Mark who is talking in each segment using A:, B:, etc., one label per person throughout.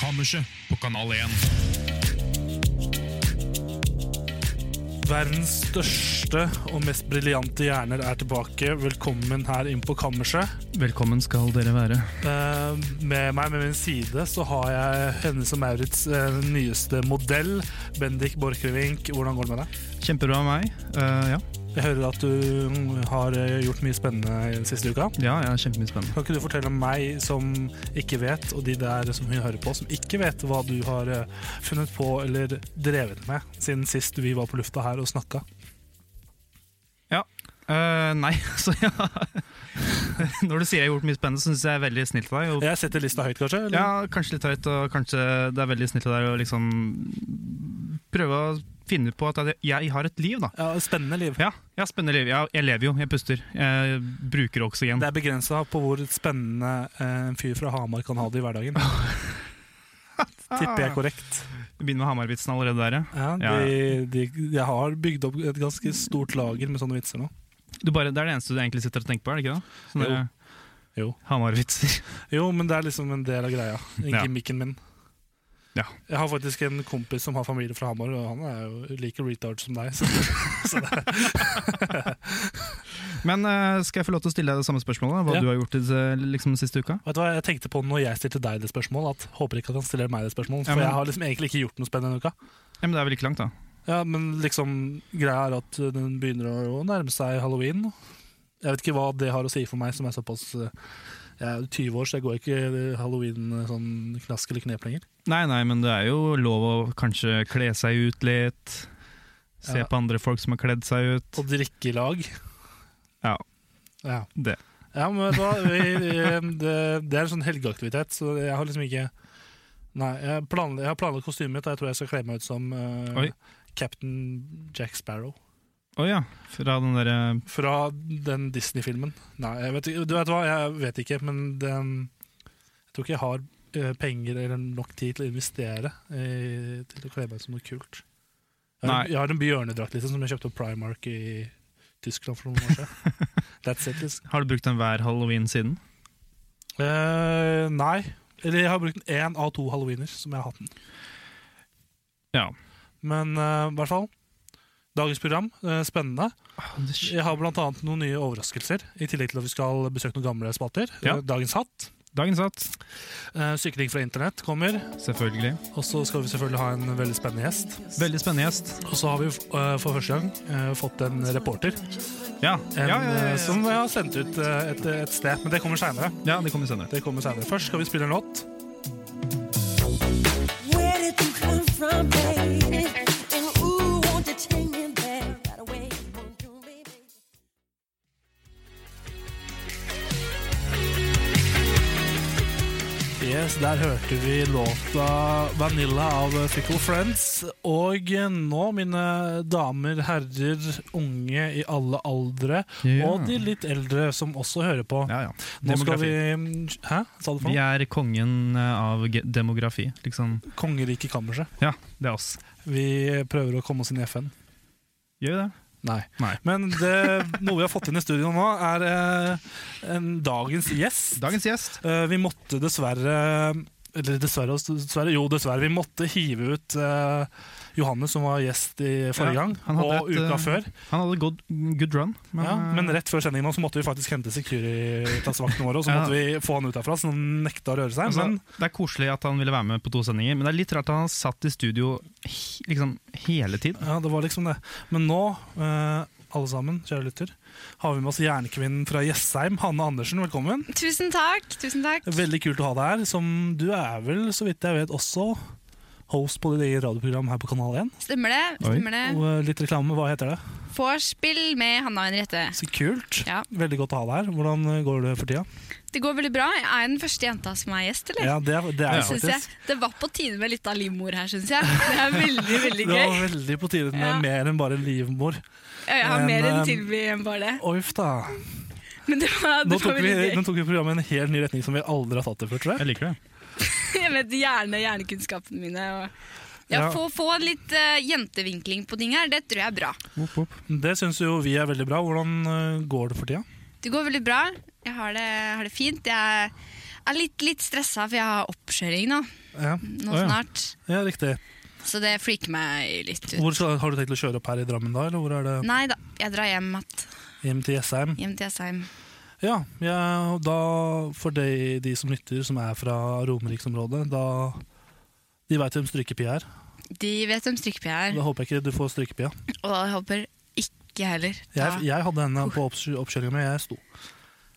A: Kammerset på Kanal 1.
B: Verdens største og mest briljante hjerner er tilbake. Velkommen her inn på kammerset.
C: Velkommen skal dere være.
B: Eh, Med meg med min side så har jeg Hennes og Maurits eh, nyeste modell, Bendik Borchgrevink. Hvordan går det med deg?
C: Kjempebra av meg. Eh, ja.
B: Jeg hører at du mm, har eh, gjort mye spennende den siste uka.
C: ja, jeg er kjempemye spennende.
B: Kan ikke du fortelle meg som ikke vet, og de der som hun hører på, som ikke vet hva du har eh, funnet på eller drevet med siden sist vi var på lufta her og snakka?
C: Eh, nei, så ja Når du sier jeg har gjort mye spennende, så syns jeg det er veldig snilt av deg. Og,
B: Jeg setter lista høyt, kanskje? eller?
C: ja, kanskje litt høyt, og kanskje det er veldig snilt av deg å liksom prøve å finne på at jeg har et liv, da.
B: Ja, spennende liv.
C: Ja, jeg har spennende liv. Ja, jeg lever jo, jeg puster. Jeg bruker oksygen.
B: Det er begrensa på hvor spennende eh, en fyr fra Hamar kan ha det i hverdagen. Tipper jeg korrekt.
C: Begynner med Hamar-vitsen allerede der, ja.
B: Ja, de, de, jeg har bygd opp et ganske stort lager med sånne vitser nå.
C: Du bare, det er det eneste du egentlig sitter og tenker på, er det ikke det? Sånne
B: Jo.
C: Hamar-vitser.
B: Jo, men det er liksom en del av greia. Den
C: Ja.
B: Gimmicken min.
C: Ja.
B: Jeg har faktisk en kompis som har familie fra Hamar, og han er jo like retard som deg. Så, så det,
C: Men eh, skal jeg få lov til å stille deg det samme spørsmålet? Hva
B: Ja.
C: du har gjort i det, liksom, siste uka?
B: vet du hva, jeg tenkte på når jeg stilte deg det spørsmålet, at håper ikke at han stiller meg det spørsmålet.
C: Ja,
B: For
C: men-
B: jeg har liksom egentlig ikke gjort noe spennende denne uka.
C: Ja, men det er vel ikke langt, da.
B: Ja, men liksom greia er at den begynner å å nærme seg halloween. Jeg vet ikke hva det har å si for meg som er såpass eh, Jeg er 20 år, så jeg går ikke halloween eh, sånn knask eller knep lenger.
C: Nei, nei, men det er jo lov å kanskje kle seg ut litt. Se
B: Ja.
C: på andre folk som har kledd seg ut.
B: Og drikke i lag.
C: Ja,
B: Ja.
C: det.
B: ja, men vet du hva, vi, eh, det, det er en sånn helgeaktivitet, så jeg har liksom ikke Nei, jeg, planla, jeg har planlagt kostymet mitt, og jeg tror jeg skal kle meg ut som eh,
C: Oi.
B: Captain Jack Sparrow.
C: Å ja, fra den eh, derre
B: Fra den Disney-filmen. Nei, jeg vet, ikke- du vet hva, jeg vet ikke, men det, jeg tror ikke jeg har eh, penger eller nok tid til å investere i, til å kle meg som noe kult. Jeg har,
C: Nei.
B: jeg har en bjørnedrakt liksom, som jeg kjøpte på Primark i Tyskland for noen år siden. That's it, liksom.
C: Har du brukt den hver halloween siden?
B: Eh, nei. Eller jeg har brukt den én av to halloweener som jeg har hatt den.
C: Ja.
B: Men eh, i hvert fall. Dagens program, eh, spennende.
C: Sh-
B: Jeg har blant annet noen nye overraskelser, i tillegg til at vi skal besøke noen gamle spalter.
C: Ja.
B: Eh, Dagens hatt,
C: Dagens hatt,
B: eh, sykling fra internett kommer,
C: selvfølgelig.
B: og så skal vi selvfølgelig ha en veldig spennende gjest.
C: Veldig spennende gjest.
B: Og så har vi eh, for første gang eh, fått en reporter,
C: Ja,
B: en,
C: ja, ja, ja,
B: eh,
C: ja.
B: som jeg har sendt ut eh, et, et sted, men det kommer seinere.
C: ja det kommer senere.
B: Det kommer senere. Først skal vi spille en låt.
D: Where did you come from, baby? And ooh, won't you take me there right away? Won't you, baby?
B: Yes, Der hørte vi låta 'Vanilla' av Fickle Friends. Og eh, nå, mine damer, herrer, unge i alle aldre,
C: Ja.
B: og de litt eldre som også hører på.
C: Ja, ja.
B: Nå skal vi mm,
C: Demografi.
B: Hæ? Sa du for
C: Vi
B: noe?
C: er kongen eh, av ge- demografi, liksom.
B: Kongeriket Kammerset.
C: Ja, det er oss.
B: Vi prøver å komme oss inn i FN.
C: Gjør vi det?
B: Nei.
C: Nei.
B: Men det, noe vi har fått inn i studio nå, er eh, en dagens gjest.
C: Dagens gjest.
B: Eh, vi måtte dessverre eller dessverre, og dessverre, jo dessverre, vi måtte hive ut eh, Johannes, som var gjest i forrige
C: Ja,
B: gang,
C: han hadde
B: og
C: et,
B: uka
C: eh,
B: før.
C: Han hadde good, good run, men,
B: ja,
C: eh,
B: men rett før sendingen nå, så måtte vi faktisk hente Securitas-vaktene våre, og så
C: Ja.
B: måtte vi få han ut herfra, så han nekta å røre seg.
C: altså,
B: men
C: Det er koselig at han ville være med på to sendinger, men det er litt rart at han har satt i studio he- liksom, hele tiden.
B: Ja, det var liksom det. Men nå, eh, alle sammen, kjære lytter, har vi med oss jernkvinnen fra Jessheim, Hanne Andersen. Velkommen.
E: Tusen takk. tusen takk.
B: Veldig kult å ha deg her. Som du er vel, så vidt jeg vet, også host på ditt eget radioprogram her på Kanal 1.
E: Stemmer det?
A: Oi.
E: stemmer det.
B: Og eh, litt reklame, hva heter det?
E: Vorspiel med Hanna Henriette.
B: Så kult.
E: Ja.
B: Veldig godt å ha deg her. Hvordan eh, går det for tida?
E: Det går veldig bra. Jeg er den første jenta som er gjest, eller?
B: Ja, det, er- det er
E: Det
B: det
E: synes jeg,
B: faktisk.
E: det var på tide med litt av livmor her, syns jeg. Det er veldig, veldig
B: Det var
E: gøy.
B: veldig på tide med
E: Ja.
B: mer enn bare livmor.
E: Ja, Jeg har
B: Men,
E: mer enn
B: eh,
E: tilby enn bare det.
B: Oi, uff da.
E: Men det var,
B: Nå
E: det
B: tok,
E: var
B: vi,
E: veldig
B: nå
E: gøy.
B: tok vi programmet i en helt ny retning som vi aldri har tatt det før, tror jeg.
A: Jeg liker det.
E: Jeg vet gjerne hjernekunnskapene mine. Og ja,
B: Ja.
E: få, få litt eh, jentevinkling på ting her, det tror jeg er bra.
A: Opp, opp.
B: Det syns jo vi er veldig bra. Hvordan eh, går det for tida?
E: Det går veldig bra. Jeg har det, har det fint. Jeg er litt, litt stressa, for jeg har oppkjøring nå,
B: Ja,
A: Å,
E: nå
A: ja.
E: snart.
B: ja riktig.
E: Så det freaker meg litt ut.
B: Hvor skal, har du tenkt å kjøre opp her i Drammen da, eller hvor er det?
E: Nei da, jeg drar hjem, att-
B: Hjem til Jessheim?
E: hjem til Jessheim.
B: Ja, ja og da for de, de som lytter, som er fra Romeriksområdet, da De veit hvem strykepia er.
E: De vet hvem strikkepia er,
B: Da håper jeg ikke du får strykepia.
E: og jeg håper ikke heller. Da-
B: Jeg, jeg hadde henne på oppsky- oppkjøringen min, jeg sto.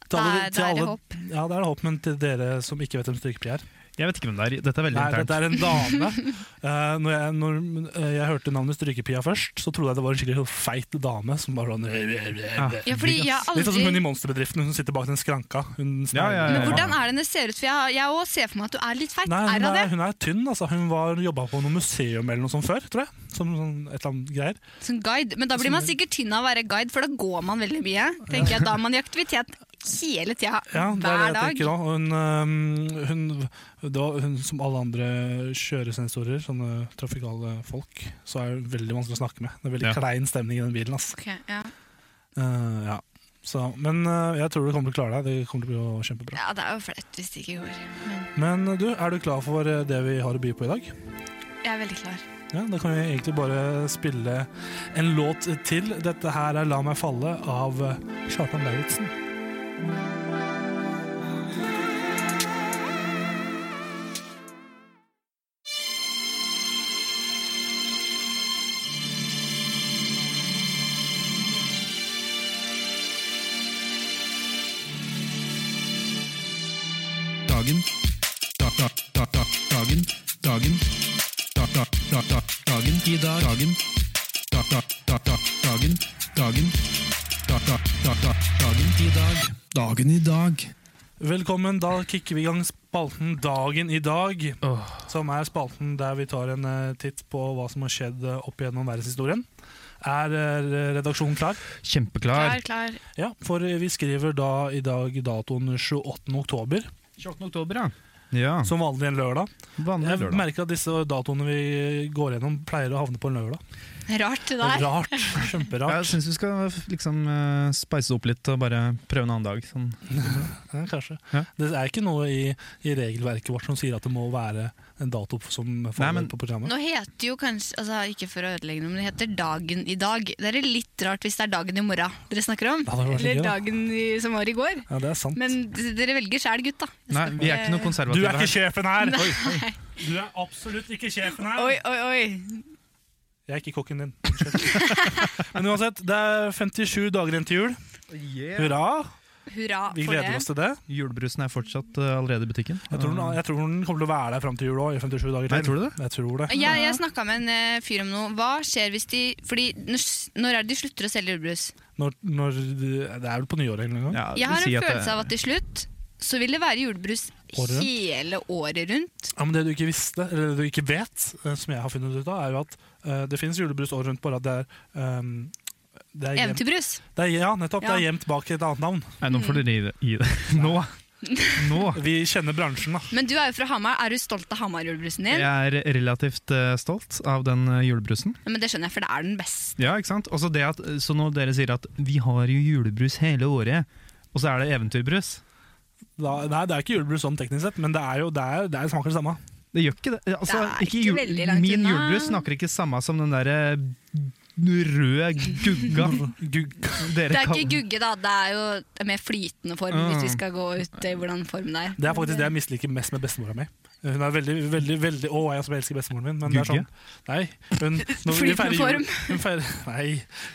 B: Til
E: Da
B: alle-
E: er-
B: til
E: da er det
B: alle-
E: håp.
B: Ja, det er det håp, men til dere som ikke vet hvem strykepia er
A: Jeg vet ikke hvem det er. Dette er veldig
B: Nei, dette
A: internt.
B: er en dame. Eh, når jeg, når eh, jeg hørte navnet Strykepia først, så trodde jeg det var en skikkelig feit dame. Som bare sånn
A: Ja.
E: Ja, fordi jeg har
B: Litt sånn som
E: aldri
B: hun i monsterbedriften, hun sitter bak den skranka. Hun
A: Ja, ja, ja,
E: Men
A: ja.
E: hvordan er det det ser ut? For jeg, jeg også ser for meg at du er litt feit.
B: Nei,
E: er
B: hun
E: hun
B: er,
E: det?
B: hun er tynn. altså Hun var- jobba på noe museum eller noe sånt før, tror jeg. Som sånn, et eller annet greier.
E: Som guide. Men da blir man sikkert tynn av å være guide, for da går man veldig mye. Tenker jeg, Da er man i aktivitet hele tida,
B: Ja, det er det
E: hver
B: jeg
E: dag.
B: tenker òg. Hun, eh, hun, det var hun, som alle andre kjøresensorer, sånne trafikale folk, så er hun veldig vanskelig å snakke med. Det er veldig
A: Ja.
B: klein stemning i den bilen. ass
E: Ok, ja.
B: Eh, ja. så, men eh, jeg tror du kommer til å klare deg. Det kommer til å bli kjempebra.
E: ja, det er jo flaut hvis det ikke går. Men
B: Men eh, du, er du klar for eh, det vi har å by på i dag?
E: jeg er veldig klar.
B: Ja, Da kan vi egentlig bare spille en låt til. Dette her er 'La meg falle' av eh, Kjartan Lauritzen.
A: Dagen. Da, da, da, da, dagen. Dagen. Da, da, da, da, dagen. I dag. Dagen. Da, da, da, da, dagen. Dagen. Da, da, da, da, dagen. I dag. Dagen i dag.
B: Velkommen. Da kicker vi i gang spalten Dagen i dag,
A: Åh.
B: som er spalten der vi tar en eh, titt på hva som har skjedd eh, opp gjennom verdenshistorien. Er eh, redaksjonen klar?
A: Kjempeklar.
E: Klar, klar.
B: Ja, for eh, vi skriver da i dag datoen 28. oktober,
A: 28. oktober, ja. Ja,
B: som vanlig en lørdag.
A: vanlig
B: Jeg
A: lørdag.
B: merker at disse datoene vi går gjennom, pleier å havne på en lørdag.
E: Rart det der.
B: Rart.
A: Jeg
B: Kjemperart.
A: syns vi skal liksom eh, spice det opp litt og bare prøve en annen dag. Sånn.
B: Ja, kanskje.
A: Ja.
B: Det er ikke noe i, i regelverket vårt som sier at det må være en dato som
A: Nei,
B: faller
A: men-
B: på programmet.
E: Nå heter jo kanskje, altså ikke for å ødelegge noe, men det heter dagen i dag. Det er litt rart hvis det er dagen i morgen dere snakker om.
B: Ja, det hadde vært
E: Eller
B: gøy, da.
E: dagen i, som var i går.
B: Ja, det er sant.
E: Men d- dere velger sjæl, gutt, da. Jeg
A: Nei,
E: skal
A: vi er ikke noe
B: Du
A: konservative
B: er ikke sjefen her!
E: Nei.
B: Du er absolutt ikke sjefen her!
E: Oi, oi, oi.
B: Jeg er ikke kokken din. Unnskyld. Men uansett, det er 57 dager igjen til jul.
A: her.
B: Hurra!
E: Hurra
B: Vi
E: for
B: gleder
E: det.
B: oss til det.
A: Julebrusen er fortsatt eh, allerede i butikken.
B: Jeg tror, den, jeg tror den kommer til å være der fram til jul òg, i 57 dager til.
A: Nei, tror du det?
B: Jeg tror det.
E: Jeg, jeg snakka med en eh, fyr om noe. Hva skjer hvis de Fordi når, s- når er det de slutter å selge julebrus?
B: Når, når, det er vel på nyåret eller noe?
A: Ja,
E: Jeg har en følelse av at til slutt så vil det være julebrus
B: Året rundt?
E: hele året rundt.
B: Ja, men Det du ikke visste, eller det du ikke vet, eh, som jeg har funnet ut av, er jo at eh, det finnes julebrus året rundt, bare at det er, ehm, det er, gjemt,
E: Eventyrbrus.
B: det er Ja, nettopp. Det er
E: Ja.
B: gjemt bak et annet navn.
A: Nei, nå får dere gi det. Gi det. Nå! Nå!
B: Vi kjenner bransjen, da.
E: Men du er jo fra Hamar. Er du stolt av Hamar-julebrusen din?
A: Jeg er relativt eh, stolt av den eh, julebrusen.
E: Men det skjønner jeg, for det er den beste.
A: Ja, ikke sant? Også det at, så når dere sier at vi har jo julebrus hele året, og så er det eventyrbrus
B: da. Nei, det er ikke julebrus sånn teknisk sett, men det, er jo, det, er, det er smaker det samme.
A: Det gjør ikke det. Altså,
E: Det er
A: ikke
E: ikke
A: jul,
E: veldig langt
A: min
E: unna.
A: julebrus snakker ikke samme som den derre røde gugga
B: Gugg.
A: dere
E: Det er ikke
A: kaller-
E: gugge, da. Det er jo en mer flytende form,
A: Mm.
E: hvis vi skal gå ut i hvordan form det er.
B: Ah. Det er faktisk det jeg misliker mest med bestemora mi. Hun er veldig, veldig, veldig Å, jeg som elsker bestemoren min, men det er sånn
A: Gugge?
B: Nei. Hun, når vi
E: Flytende
B: feirer
E: form.
B: jul, hun feirer, nei,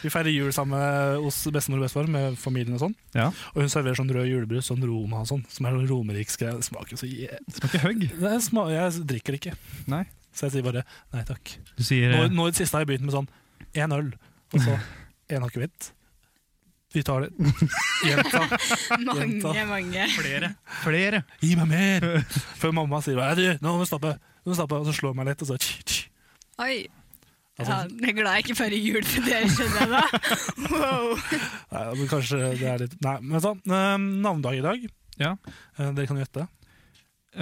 B: vi feirer jul sammen med- hos bestemor og bestefar, med familien og sånn.
A: Ja,
B: Og hun serverer sånn rød julebrus, sånn Roma og sånn, som er sånn romeriksgreie. Det smaker jo så jæ-
A: det smaker høgg.
B: Det er sma Jeg drikker det ikke.
A: Nei.
B: Så jeg sier bare nei takk.
C: Du sier
B: Nå,
C: eh,
B: nå i det siste har jeg begynt med sånn én øl, og så én akevitt. Vi tar det. Gjenta.
E: Mange,
B: Jenta.
E: mange.
C: flere. Flere!
B: Gi meg mer! Før mamma sier bare, «Nei, du, nå må du stoppe. Nå må du stoppe. Og så slår hun meg litt, og så tsk, tsk.
E: Oi.
B: Altså,
E: Ja, jeg er glad jeg ikke feirer jul for dere, skjønner jeg da. Wow.
B: Nei, men kanskje det er litt Nei, men sånn. eh, Navnedag i dag.
C: Ja.
B: Eh, Dere kan jo gjette.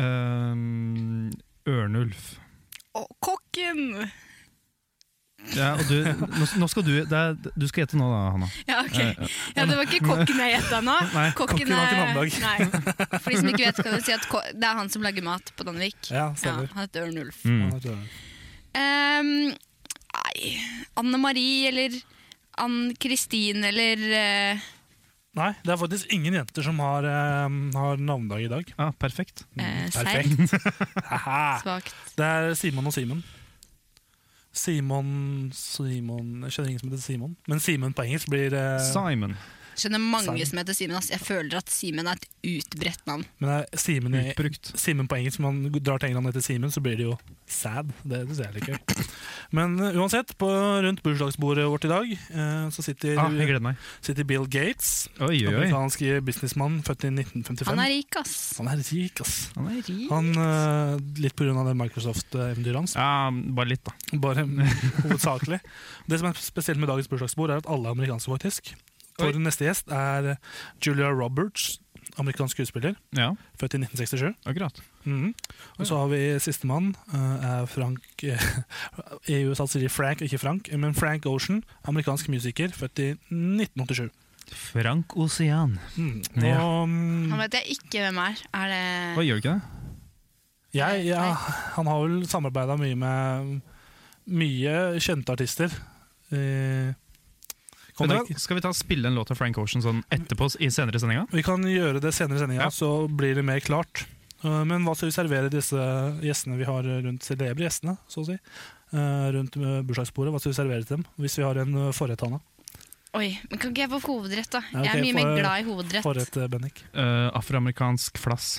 C: Ehm, Ørnulf.
E: Å, kokken!
C: Ja, og du, nå, nå skal du det er, Du skal gjette nå, da, Hanna.
E: Ja, ok.
C: Eh,
E: Ja, det var ikke kokken jeg gjetta nå.
C: Nei,
B: kokken har ikke navnedag.
E: Nei. For de som ikke vet, kan du si at ko det er han som lager mat på Danvik.
B: Ja,
E: Ja, han
B: stemmer.
E: heter Ørnulf.
C: Mm.
E: Ehm, nei, Anne Marie eller Ann Kristin eller eh,
B: Nei, det er faktisk ingen jenter som har, eh, har navnedag i dag.
C: Ja, perfekt.
E: eh, Serr.
B: Mm, Perfekt. Haha.
E: Svakt.
B: det er Simon og Simen. Simon Simon Jeg kjenner ingen som heter Simon. Men Simen på engelsk blir eh,
C: Simon.
E: Skjønner mange
B: Serr.
E: som heter Simen. Ass. Jeg føler at Simen er et utbredt navn.
B: Men det er Simen, i,
C: Utbrukt.
B: Simen på engelsk. Når man drar til England etter Simen, så blir det jo sad. Det syns jeg er litt gøy. Men eh, uansett, på, rundt bursdagsbordet vårt i dag eh, så sitter,
C: Ah, jeg gleder meg.
B: sitter Bill Gates.
C: Oi, oi, oi.
B: Amerikansk businessmann, født i 1955.
E: Han er rik, ass.
B: Han er rik, ass.
C: Han er rik.
B: Han, eh, litt pga. det Microsoft-eventyret hans,
C: Ja, bare litt, da.
B: bare hovedsakelig. Det som er spesielt med dagens bursdagsbord, er at alle er amerikanske, faktisk. For
C: Oi.
B: neste gjest er Julia Roberts, amerikansk skuespiller,
C: Ja,
B: født i 1967.
C: akkurat.
B: Mhm. Og så har vi sistemann, eh, er Frank I USA sier de Frank, ikke Frank, men Frank Ocean, amerikansk musiker, født i 1987.
C: Frank Ocean.
B: Mhm.
C: Ja.
B: Og mm,
E: Han vet jeg ikke hvem er. Er
C: Hva
E: det
C: gjør du ikke det?
B: Jeg, ja,
E: Nei.
B: han har vel samarbeida mye med mye kjente artister. Eh,
C: Vet
B: kommer
C: du hva?
B: ikke-
C: Skal vi ta og spille en låt av Frank Ocean sånn etterpå i senere sendinga?
B: vi kan gjøre det senere i sendinga,
C: Ja.
B: så blir det mer klart. Eh, men hva skal vi servere disse gjestene vi har rundt celebre gjestene, så å si? Eh, rundt eh, bursdagsbordet, hva skal vi servere til dem? Hvis vi har en eh, forrett, Hanna.
E: Oi, men kan ikke jeg få hovedrett, da?
B: Nei,
E: jeg er
B: ok,
E: mye
B: for-
E: mer glad i hovedrett.
B: Forrett, eh, Bennik.
C: Eh, afroamerikansk flass.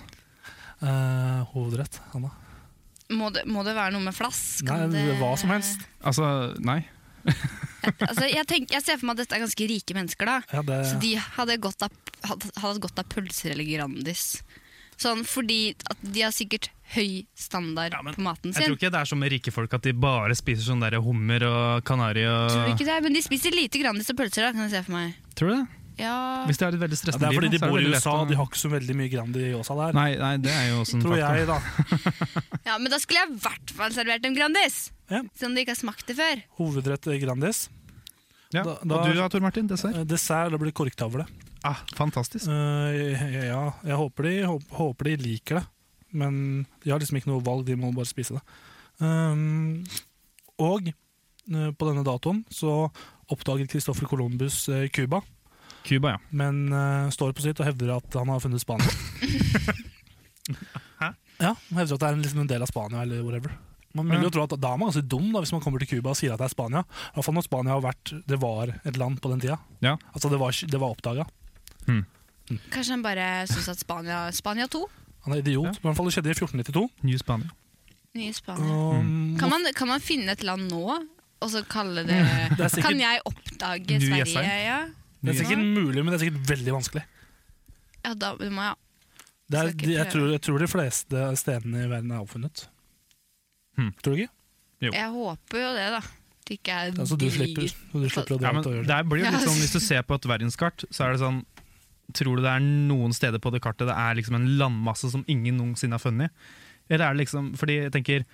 B: Eh, hovedrett, Hanna.
E: Må, det, må det være noe med flass? Kan
B: Nei, hva som helst.
C: Altså, nei.
E: Altså, jeg, tenker, jeg ser for meg at dette er ganske rike mennesker, da.
B: Ja, det,
E: Så de hadde godt av, hadde, hadde godt av pølser eller Grandis. Sånn, fordi at de har sikkert høy standard
C: Ja, men
E: på maten
C: Jeg tror
E: sin.
C: ikke det er som med rike folk at de bare spiser sånn der hummer og kanari og
E: Tror du ikke det? Men de spiser lite Grandis og pølser, da, kan jeg se for meg.
C: Tror du det?
E: Ja,
C: Hvis de har et veldig
B: ja, det
C: stressende
B: er
C: liv.
B: fordi de
C: så er det
B: bor i
C: veldig lett
B: USA,
C: å-
B: de har ikke så veldig mye Grandiosa der.
C: Nei, nei, det er jo også en
B: tror jeg, da.
E: ja Men da skulle jeg i hvert fall servert dem Grandis!
B: Ja.
E: Selv om de ikke har smakt det før.
B: Hovedrett eh, Grandis.
C: Ja.
B: Da- da-
C: Og du da, Tor Martin? Dessert?
B: Eh, Dessert, det blir korktavle.
C: Ah, fantastisk.
B: Eh, ja, jeg håper de, håp- håper de liker det. Men de har liksom ikke noe valg, de må bare spise det. Um, og eh, på denne datoen så oppdaget Christoffer Columbus eh, Cuba,
C: Cuba, ja.
B: men eh, står på sitt og hevder at han har funnet Spania.
C: Hæ?
B: Ja, han hevder at det er en, liksom en del av Spania eller whatever. Man vil jo tro at Da er man ganske dum da, hvis man kommer til Cuba og sier at det er Spania. I hvert fall når Spania har vært, det var et land på den tida.
C: Ja.
B: Altså det var, ikke- det var oppdaga.
E: Kanskje han bare syns at Spania Spania 2?
B: Han er idiot.
C: Ja.
B: I hvert fall det skjedde i 1492.
C: New Spania.
E: Nye Spania.
C: Mm.
B: Um,
E: Kan man, kan man finne et land nå, og så kalle det,
B: Det er sikkert-
E: Kan jeg oppdage
C: New
E: Sverige?
C: Jessheim.
E: Ja?
B: Det er sikkert mulig, men det er sikkert veldig vanskelig.
E: ja, da må jeg
B: Det er,
E: Skal ikke
B: de, jeg,
E: prøve.
B: tror, jeg tror de fleste stedene i verden er oppfunnet.
C: Hmm.
B: Tror du ikke?
C: Jo.
E: Jeg håper jo det, da. Det ikke er
B: Altså, du, slipper,
E: digert.
B: du slipper å dra
C: Ja, men
B: ut og gjøre det.
C: det blir jo litt
E: Ja.
C: sånn, Hvis du ser på et verdenskart, så er det sånn Tror du det er noen steder på det kartet det er liksom en landmasse som ingen noensinne har funnet? Eller er det liksom Fordi jeg tenker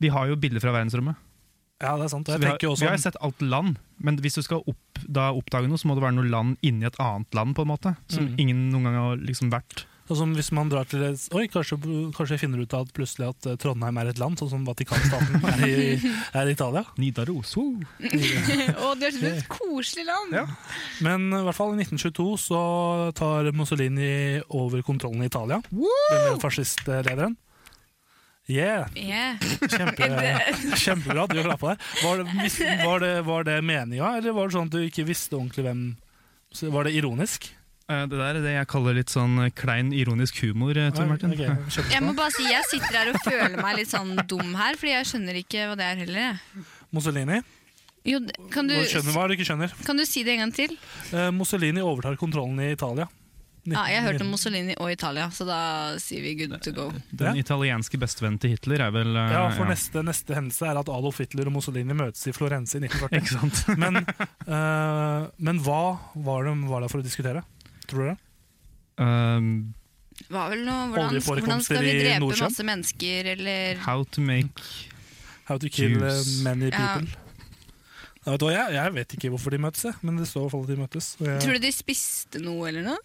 C: Vi har jo bilder fra verdensrommet.
B: Ja, det er sant.
C: Så
B: Jeg
C: vi, har,
B: tenker
C: vi
B: også
C: har sett alt land, men hvis du skal opp, da oppdage noe, så må det være noe land inni et annet land, på en måte. Som
B: Mm.
C: ingen noen gang har liksom vært.
B: sånn som Hvis man drar til et Oi, kanskje, kanskje jeg finner ut at plutselig at eh, Trondheim er et land, sånn som Vatikanstaten er i, er i Italia.
C: Nidaros. wow.
E: Å, det høres ut som et koselig land!
C: Ja.
B: Men eh, i hvert fall i 1922 så tar Mussolini over kontrollen i Italia. Denne fascistlederen. Yeah!
E: Yeah.
B: Kjempe, kjempebra at du klappa der. Var det, mis- var, det, var det meninga, eller var det sånn at du ikke visste ordentlig hvem så Var det ironisk?
C: Eh, Det der er det jeg kaller litt sånn eh, klein ironisk humor, eh, Tor Martin.
B: Ok, jeg skjønner.
E: Jeg må bare si jeg sitter her og føler meg litt sånn dum her, fordi jeg skjønner ikke hva det er heller. jeg.
B: Mussolini.
E: Jo, d- kan du,
B: Du skjønner hva du ikke skjønner.
E: kan du si det en gang til?
B: Eh, Mussolini overtar kontrollen i Italia.
E: Ja, Ah, jeg hørte om Mussolini og Italia, så da sier vi good to go.
C: Den italienske bestevennen til Hitler er vel eh,
B: Ja, for Neste, neste hendelse er at Adolf Hitler og Mussolini møtes i Florence i 1940.
C: Ikke sant?
B: Men, eh, men hva var de var der for å diskutere? Tror dere?
C: Um,
E: Hva vel nå, hvordan,
B: Oljeforekomster
E: hvordan skal vi
B: i
E: drepe
B: Nordsjøen?
E: masse mennesker, eller
C: how to make
B: How to kill eh,
C: Jews.
B: many
E: Ja.
B: people. Ja, vet du hva, jeg, jeg vet ikke hvorfor de møtes, jeg, men det står i hvert fall at de møtes. og Jeg,
E: Tror du de spiste noe eller noe?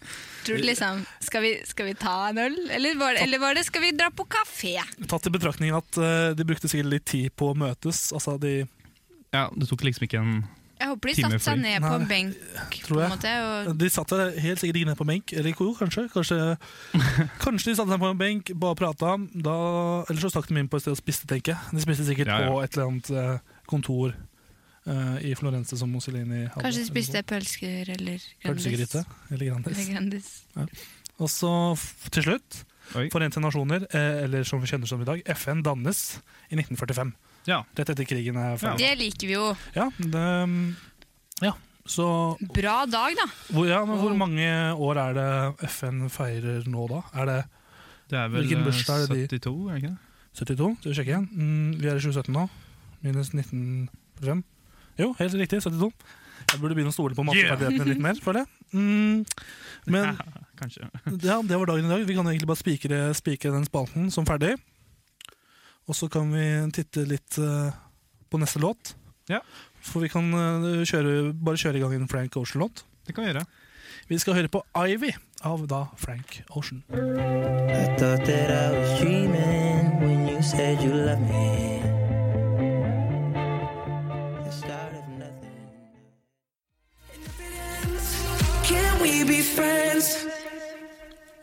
E: Tror du liksom, skal vi, skal vi ta en øl, eller var, det, eller var det skal vi dra på kafé?
B: Tatt i betraktning at eh, de brukte sikkert litt tid på å møtes. Altså, de
C: Ja, det tok liksom ikke en
E: Jeg håper de
C: Time
E: satte seg
C: free.
E: ned på en
B: Nei,
E: benk, på
B: tror jeg.
E: en måte, og
B: Eh, De satt der helt sikkert ikke ned på benk, eller ikke, jo, kanskje. Kanskje, kanskje de satt ned på en benk, bare prata. Da, eller så stakk de inn på et sted og spiste, tenker jeg. De spiste sikkert
C: Ja, ja.
B: på et eller annet eh, kontor eh, i Florence som Mussolini hadde.
E: kanskje de spiste pølsker eller Grandis.
B: Pølsegryte eller
E: Eller
B: Grandis.
E: grandis.
B: Og så f- til slutt,
C: Oi.
B: Forente nasjoner, eh, eller som vi kjenner som i dag, FN dannes i 1945.
C: Ja.
B: Rett etter krigen er ferdig.
E: Det liker vi jo.
B: Ja, det, mm, ja. Så
E: Bra dag, da.
B: hvor, ja, men hvor mange år er det FN feirer nå, da? Er det
C: Det er vel
B: Hvilken
C: eh,
B: bursdag er det
C: 72, er det ikke det?
B: 72? Skal vi sjekke igjen? Mm, vi er i 2017 nå. Minus 1945. Jo, helt riktig. 72. Jeg burde begynne å stole på matteferdighetene litt mer, føler jeg. Mm, men
C: Kanskje.
B: ja, det var dagen i dag. Vi kan egentlig bare spikre, spikre den spalten som ferdig. Og så kan vi titte litt eh, på neste låt.
C: Ja.
B: For vi kan eh, kjøre, bare kjøre i gang en Frank Ocean-låt.
C: Det kan vi gjøre.
B: Vi skal høre på Ivy av da Frank Ocean.
F: I thought that I was dreaming when you said you loved me. It started from nothing.
G: Can we be friends?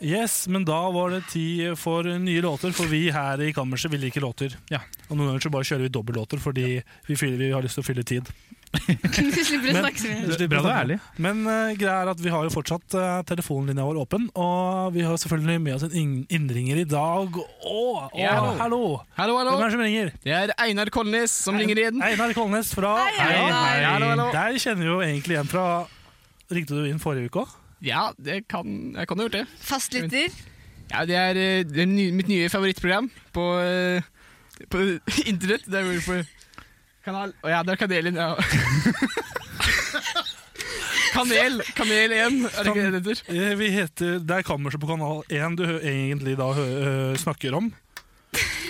B: Yes, men da var det tid for nye låter, for vi her i Kammerset vil like låter.
C: Ja.
B: Og noen ganger så bare kjører vi dobbeltlåter fordi vi, fyller, vi har lyst til å fylle tid.
E: Vi slipper å
B: Men-
E: snakke så mye.
B: slipper
C: Bra
B: å
C: du er
B: snakke.
C: ærlig.
B: Men eh, greia er at vi har jo fortsatt eh, telefonlinja vår åpen, og vi har selvfølgelig med oss en inn- innringer i dag. Å, å,
H: Ja.
B: hallo!
H: Hallo, hallo.
B: Hvem er det som ringer?
H: Det er Einar Kolnes som ringer inn.
B: Einar Kolnes fra
E: Hei, hei.
H: Hallo, hallo.
B: Der kjenner vi jo egentlig igjen fra Ringte du inn forrige uke òg?
H: Ja, det kan, jeg kan ha gjort det.
E: Fastlytter.
H: Ja, det er, eh, det er ny, mitt nye favorittprogram på, eh, på internett. Det er vel på kanal Å ja, det er Kanelen. Ja. kanel Kanel 1, er det ikke det det heter?
B: Eh, Vi heter Det er Kammerset på kanal 1 du hø- egentlig da hø, øh, snakker om.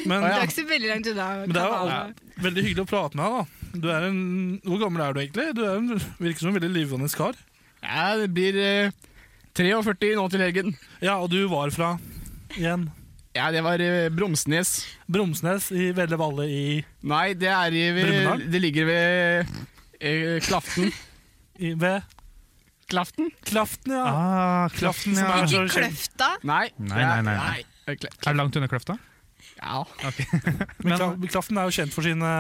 B: Men,
E: Du er ikke så veldig langt unna.
B: men det er jo
E: kanalen.
B: alt, veldig hyggelig å prate med deg. da du er en, Hvor gammel er du egentlig? Du er en, virker som en veldig livende kar.
H: Ja, det blir eh, 43 nå til helgen.
B: Ja, og du var fra igjen
H: Ja, det var eh, Bromsnes.
B: Bromsnes i Velle Valle i,
H: Nei, det er i ved,
B: Brumunddal?
H: Det ligger ved eh, Klaften.
B: i Ved
H: Klaften?
B: Klaften, ja.
C: Ah,
B: Klaften
C: Klaften,
B: som
C: ja.
B: er så
E: Ikke
B: kjent.
E: Kløfta.
H: Nei.
C: Nei, nei, nei, nei.
H: nei. Kla-
C: Er det langt unna Kløfta?
H: Ja.
B: Men Kla- Klaften er jo kjent for sine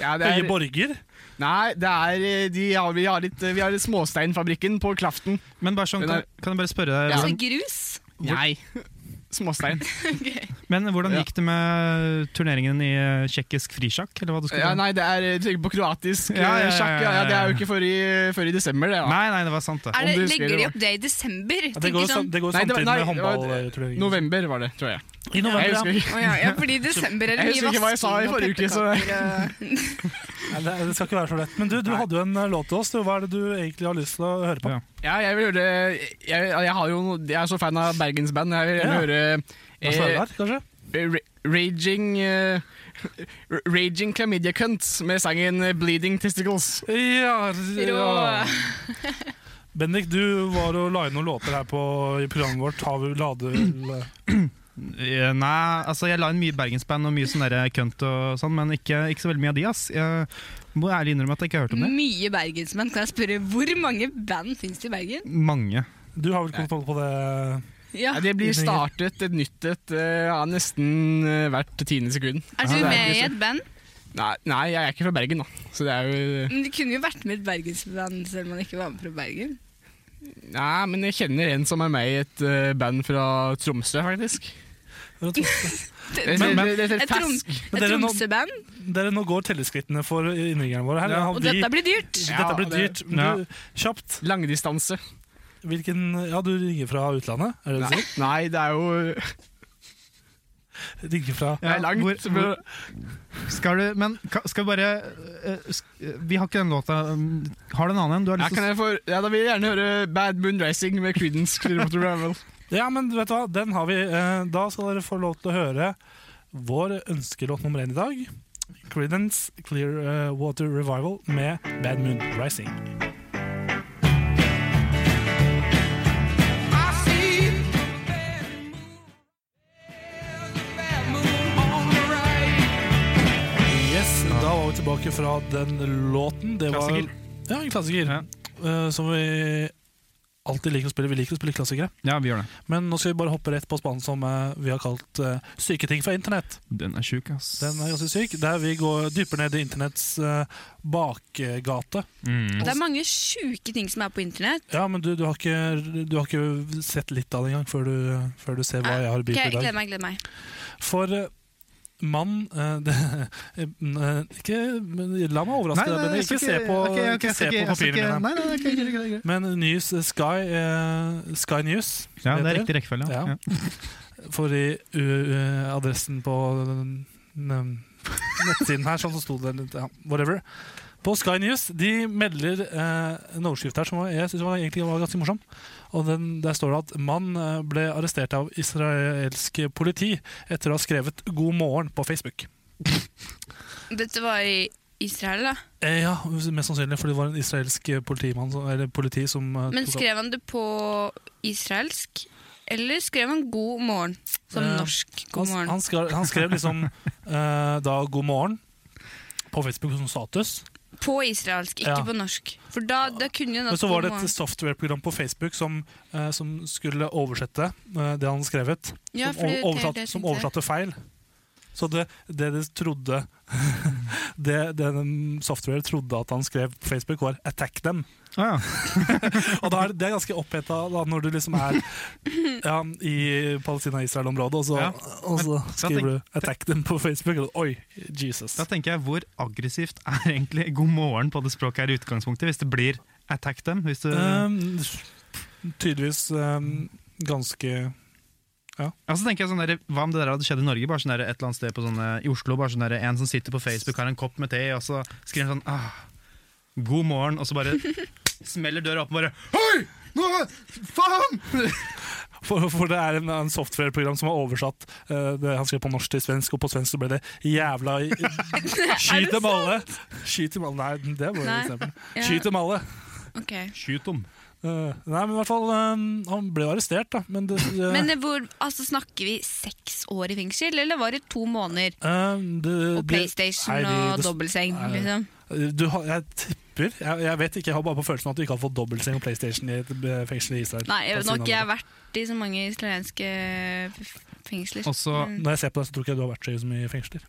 H: Ja, det er-
B: høye borger.
H: Nei, det er, eh, de har, vi, har litt, vi har litt Småsteinfabrikken på Klaften.
C: Men bare sånn,
H: Den
C: kan,
H: er-
C: kan jeg bare spørre deg,
H: Ja.
E: Altså
C: hvordan,
E: grus.
H: Nei. Småstein.
C: men hvordan
H: Ja.
C: gikk det med turneringen i eh, tsjekkisk frisjakk? Eller hva du skulle
H: Ja,
C: ta?
H: nei, det er eh, trykker på kroatisk eh,
C: Ja, ja, ja,
H: sjakk. Ja, ja, det er jo ikke før i, før i desember, det. Da.
C: nei, nei, det var sant, det.
E: Er
H: Om
E: det,
H: du husker
E: legger de
H: det,
E: opp det i desember?
B: Ja, det går,
E: Tenker
B: jo sam-
E: sånn,
B: det går jo
H: Nei, det var-
B: samtidig
H: nei,
B: med
H: det var-
B: håndballturneringen.
H: November var det, tror jeg.
B: I
H: Jeg
B: november, ja.
H: husker ikke.
E: sånn, Å ja, ja, fordi i desember er det
H: Jeg husker
E: mye
H: ikke hva jeg sa i
E: vasking og
H: forrige uke, så-
E: pepperkaker. og-
B: Nei, Det det skal ikke være så lett. Men du, du
H: Nei.
B: hadde jo en eh, låt til oss. Du, hva er det du egentlig har lyst til å høre på?
C: Ja.
H: Ja, jeg vil høre jeg, jeg, har jo, noe- jeg er så fan av bergensband. Jeg vil gjerne
B: Ja. Hva slags
H: høre
B: er det, kanskje?
H: eh, Ra- Raging eh, Ra- Raging Chlamydia Cunt med sangen eh, 'Bleeding Testicles'.
B: Ja,
E: Rå.
B: Bendik, du var og la inn noen låter her på, i programmet vårt. Har vi lade
C: Eh, Nei, altså jeg la inn mye bergensband og mye sånn derre kønt og sånn, men ikke, ikke så veldig mye av de, ass. Jeg må ærlig innrømme at jeg ikke har hørt om det.
E: Mye bergensmenn. Kan jeg spørre hvor mange band finnes det i Bergen?
C: Mange.
B: Du har vel kontroll på det?
E: Ja.
H: Ja, det blir startet et nytt et eh, ja, nesten eh, hvert tiende sekund.
E: Er du
H: Ja, det er
E: med i
H: ikke
E: et band?
H: Nei, nei, jeg er ikke fra Bergen, da. Så det er jo
E: Men Du kunne jo vært med i et bergensband selv om man ikke var med fra Bergen.
I: Nei, men jeg kjenner en som er med i et eh, band fra Tromsø, faktisk. det,
E: Et
I: det, det,
E: Et
I: Fask.
E: trom-
B: Men dere nå-
E: tromseband.
B: Dere, nå går telleskrittene for innbyggerne våre her.
C: Ja.
B: Har
E: Og
B: vi-
E: dette blir dyrt.
I: Ja,
B: dette blir
I: det-
B: dyrt. Men
C: Ja.
B: du, kjapt.
I: Langdistanse.
B: Hvilken Ja, du ringer fra utlandet? Er det det du
I: Nei. Nei, det er jo
B: sier? Ringer fra
I: det er langt.
C: hvor-
I: men,
C: hvor- Skal du, men ka- skal vi bare eh, sk- Vi har ikke den låta. um, Har du en annen en? Du har
I: ja,
C: lyst
I: kan
C: til å
I: jeg få, ja, da vil jeg gjerne høre Bad Moon Racing med Creedence Clearwater Revival.
B: Ja, men vet du hva, den har vi. Eh, Da skal dere få lov til å høre vår ønskelåt nummer én i dag. Creedence Clearwater Revival med Bad Moon Rising. Yes, da var vi tilbake fra den låten. Det var,
C: Klassiker.
B: ja, en klassiker. eh, som vi alltid liker å spille. Vi liker å spille klassikere.
C: Ja, vi gjør det.
B: Men nå skal vi bare hoppe rett på spannen som eh, vi har kalt eh, syketing fra internett.
C: Den er sjuk, ass.
B: Den er ganske syk. Der vi går dypere ned i internetts eh, bakgate.
C: Mm.
E: Det er mange sjuke ting som er på internett.
B: Ja, men du, du, har ikke, du har ikke sett litt av det engang før, du- før du ser hva jeg har i
E: Ok,
B: byen i
E: gleder
B: dag.
E: meg, gleder meg.
B: For eh, mann eh, det, eh, Ikke men La meg overraske deg, Benny. Ikke se på, ikke se på papirene mine.
C: Nei, nei, nei, nei, nei,
B: Men News eh, Sky, eh, Sky News
C: Ja, det er
B: heter
C: riktig rekkefølge.
B: Ja.
C: Ja. Ja.
B: For i u, u, adressen på den, den nettsiden her, sånn så sto det litt, ja, whatever. På Sky News de melder eh, en overskrift her som var- jeg synes var, egentlig var ganske morsom. Og den, Der står det at mann eh, ble arrestert av israelsk politi etter å ha skrevet 'God morgen' på Facebook.
E: Dette var i Israel, da.
B: Eh, ja, Mest sannsynlig fordi det var en israelsk politimann som- eller politi som eh,
E: Men
B: tok av-
E: skrev han det på israelsk? Eller skrev han 'god morgen' som
B: Eh,
E: norsk 'god
B: Han,
E: morgen'?
B: han, skrev, han skrev liksom eh, da 'God morgen' på Facebook som status.
E: På israelsk, ikke
B: Ja.
E: på norsk. For da, da kunne jo
B: Men
E: natt
B: så var det et
E: 'god morgen'.
B: softwareprogram på Facebook som, eh, som skulle oversette eh, det han hadde skrevet.
E: Ja,
B: som,
E: for det-
B: over-
E: det er
B: oversatt,
E: det jeg
B: som
E: tenkte.
B: oversatte feil. Så det, det de trodde Det det den software trodde at han skrev på Facebook, var 'attack them'.
C: Ah, ja.
B: Og da er det, det er ganske oppheta da, når du liksom er ja, i Palestina-Israel-området, og, så-
C: Ja.
B: og så skriver
C: tenk-
B: du 'attack them' på Facebook. Og, oi, Jesus.
C: Da tenker jeg, hvor aggressivt er egentlig 'god morgen' på det språket her i utgangspunktet, hvis det blir 'attack them'? Hvis du,
B: Um, tydeligvis um, ganske
C: altså tenker jeg sånn der, Hva om det der hadde skjedd i Norge, bare sånn der, et eller annet sted på sånne, i Oslo? bare sånn der, En som sitter på Facebook, har en kopp med te, og så skriver han sånn ah, 'god morgen', og så bare smeller døra opp og bare 'hei! Nå, faen!'
B: For, for det er en, en softwareprogram som har oversatt eh, det han skrev på norsk til svensk, og på svensk så ble det 'jævla i- Skyt dem alle! Skyt dem alle. Nei, det var et
E: Nei.
B: eksempel.
E: Ja,
B: Skyt dem alle!
E: ok.
C: Skyt dem.
B: Eh, nei, men i hvert fall um, Han ble jo arrestert, da. Men det, det,
E: Men det, hvor, altså, snakker vi seks år i fengsel, eller var det to måneder?
B: eh, det,
E: Og PlayStation
B: nei, vi-
E: og
B: det-
E: dobbeltseng,
B: nei.
E: liksom.
B: Du har, jeg tipper jeg, jeg vet ikke, jeg har bare på følelsen at du ikke har fått dobbeltseng og PlayStation i et eh, fengsel i Israel.
E: Nei, jeg, nå har ikke jeg
B: Palestina.
E: vært i så mange israelske eh, f- fengsler. Mm.
C: Og så
E: Men
B: Når jeg ser på deg, så tror ikke jeg du har vært så så mye i fengsler.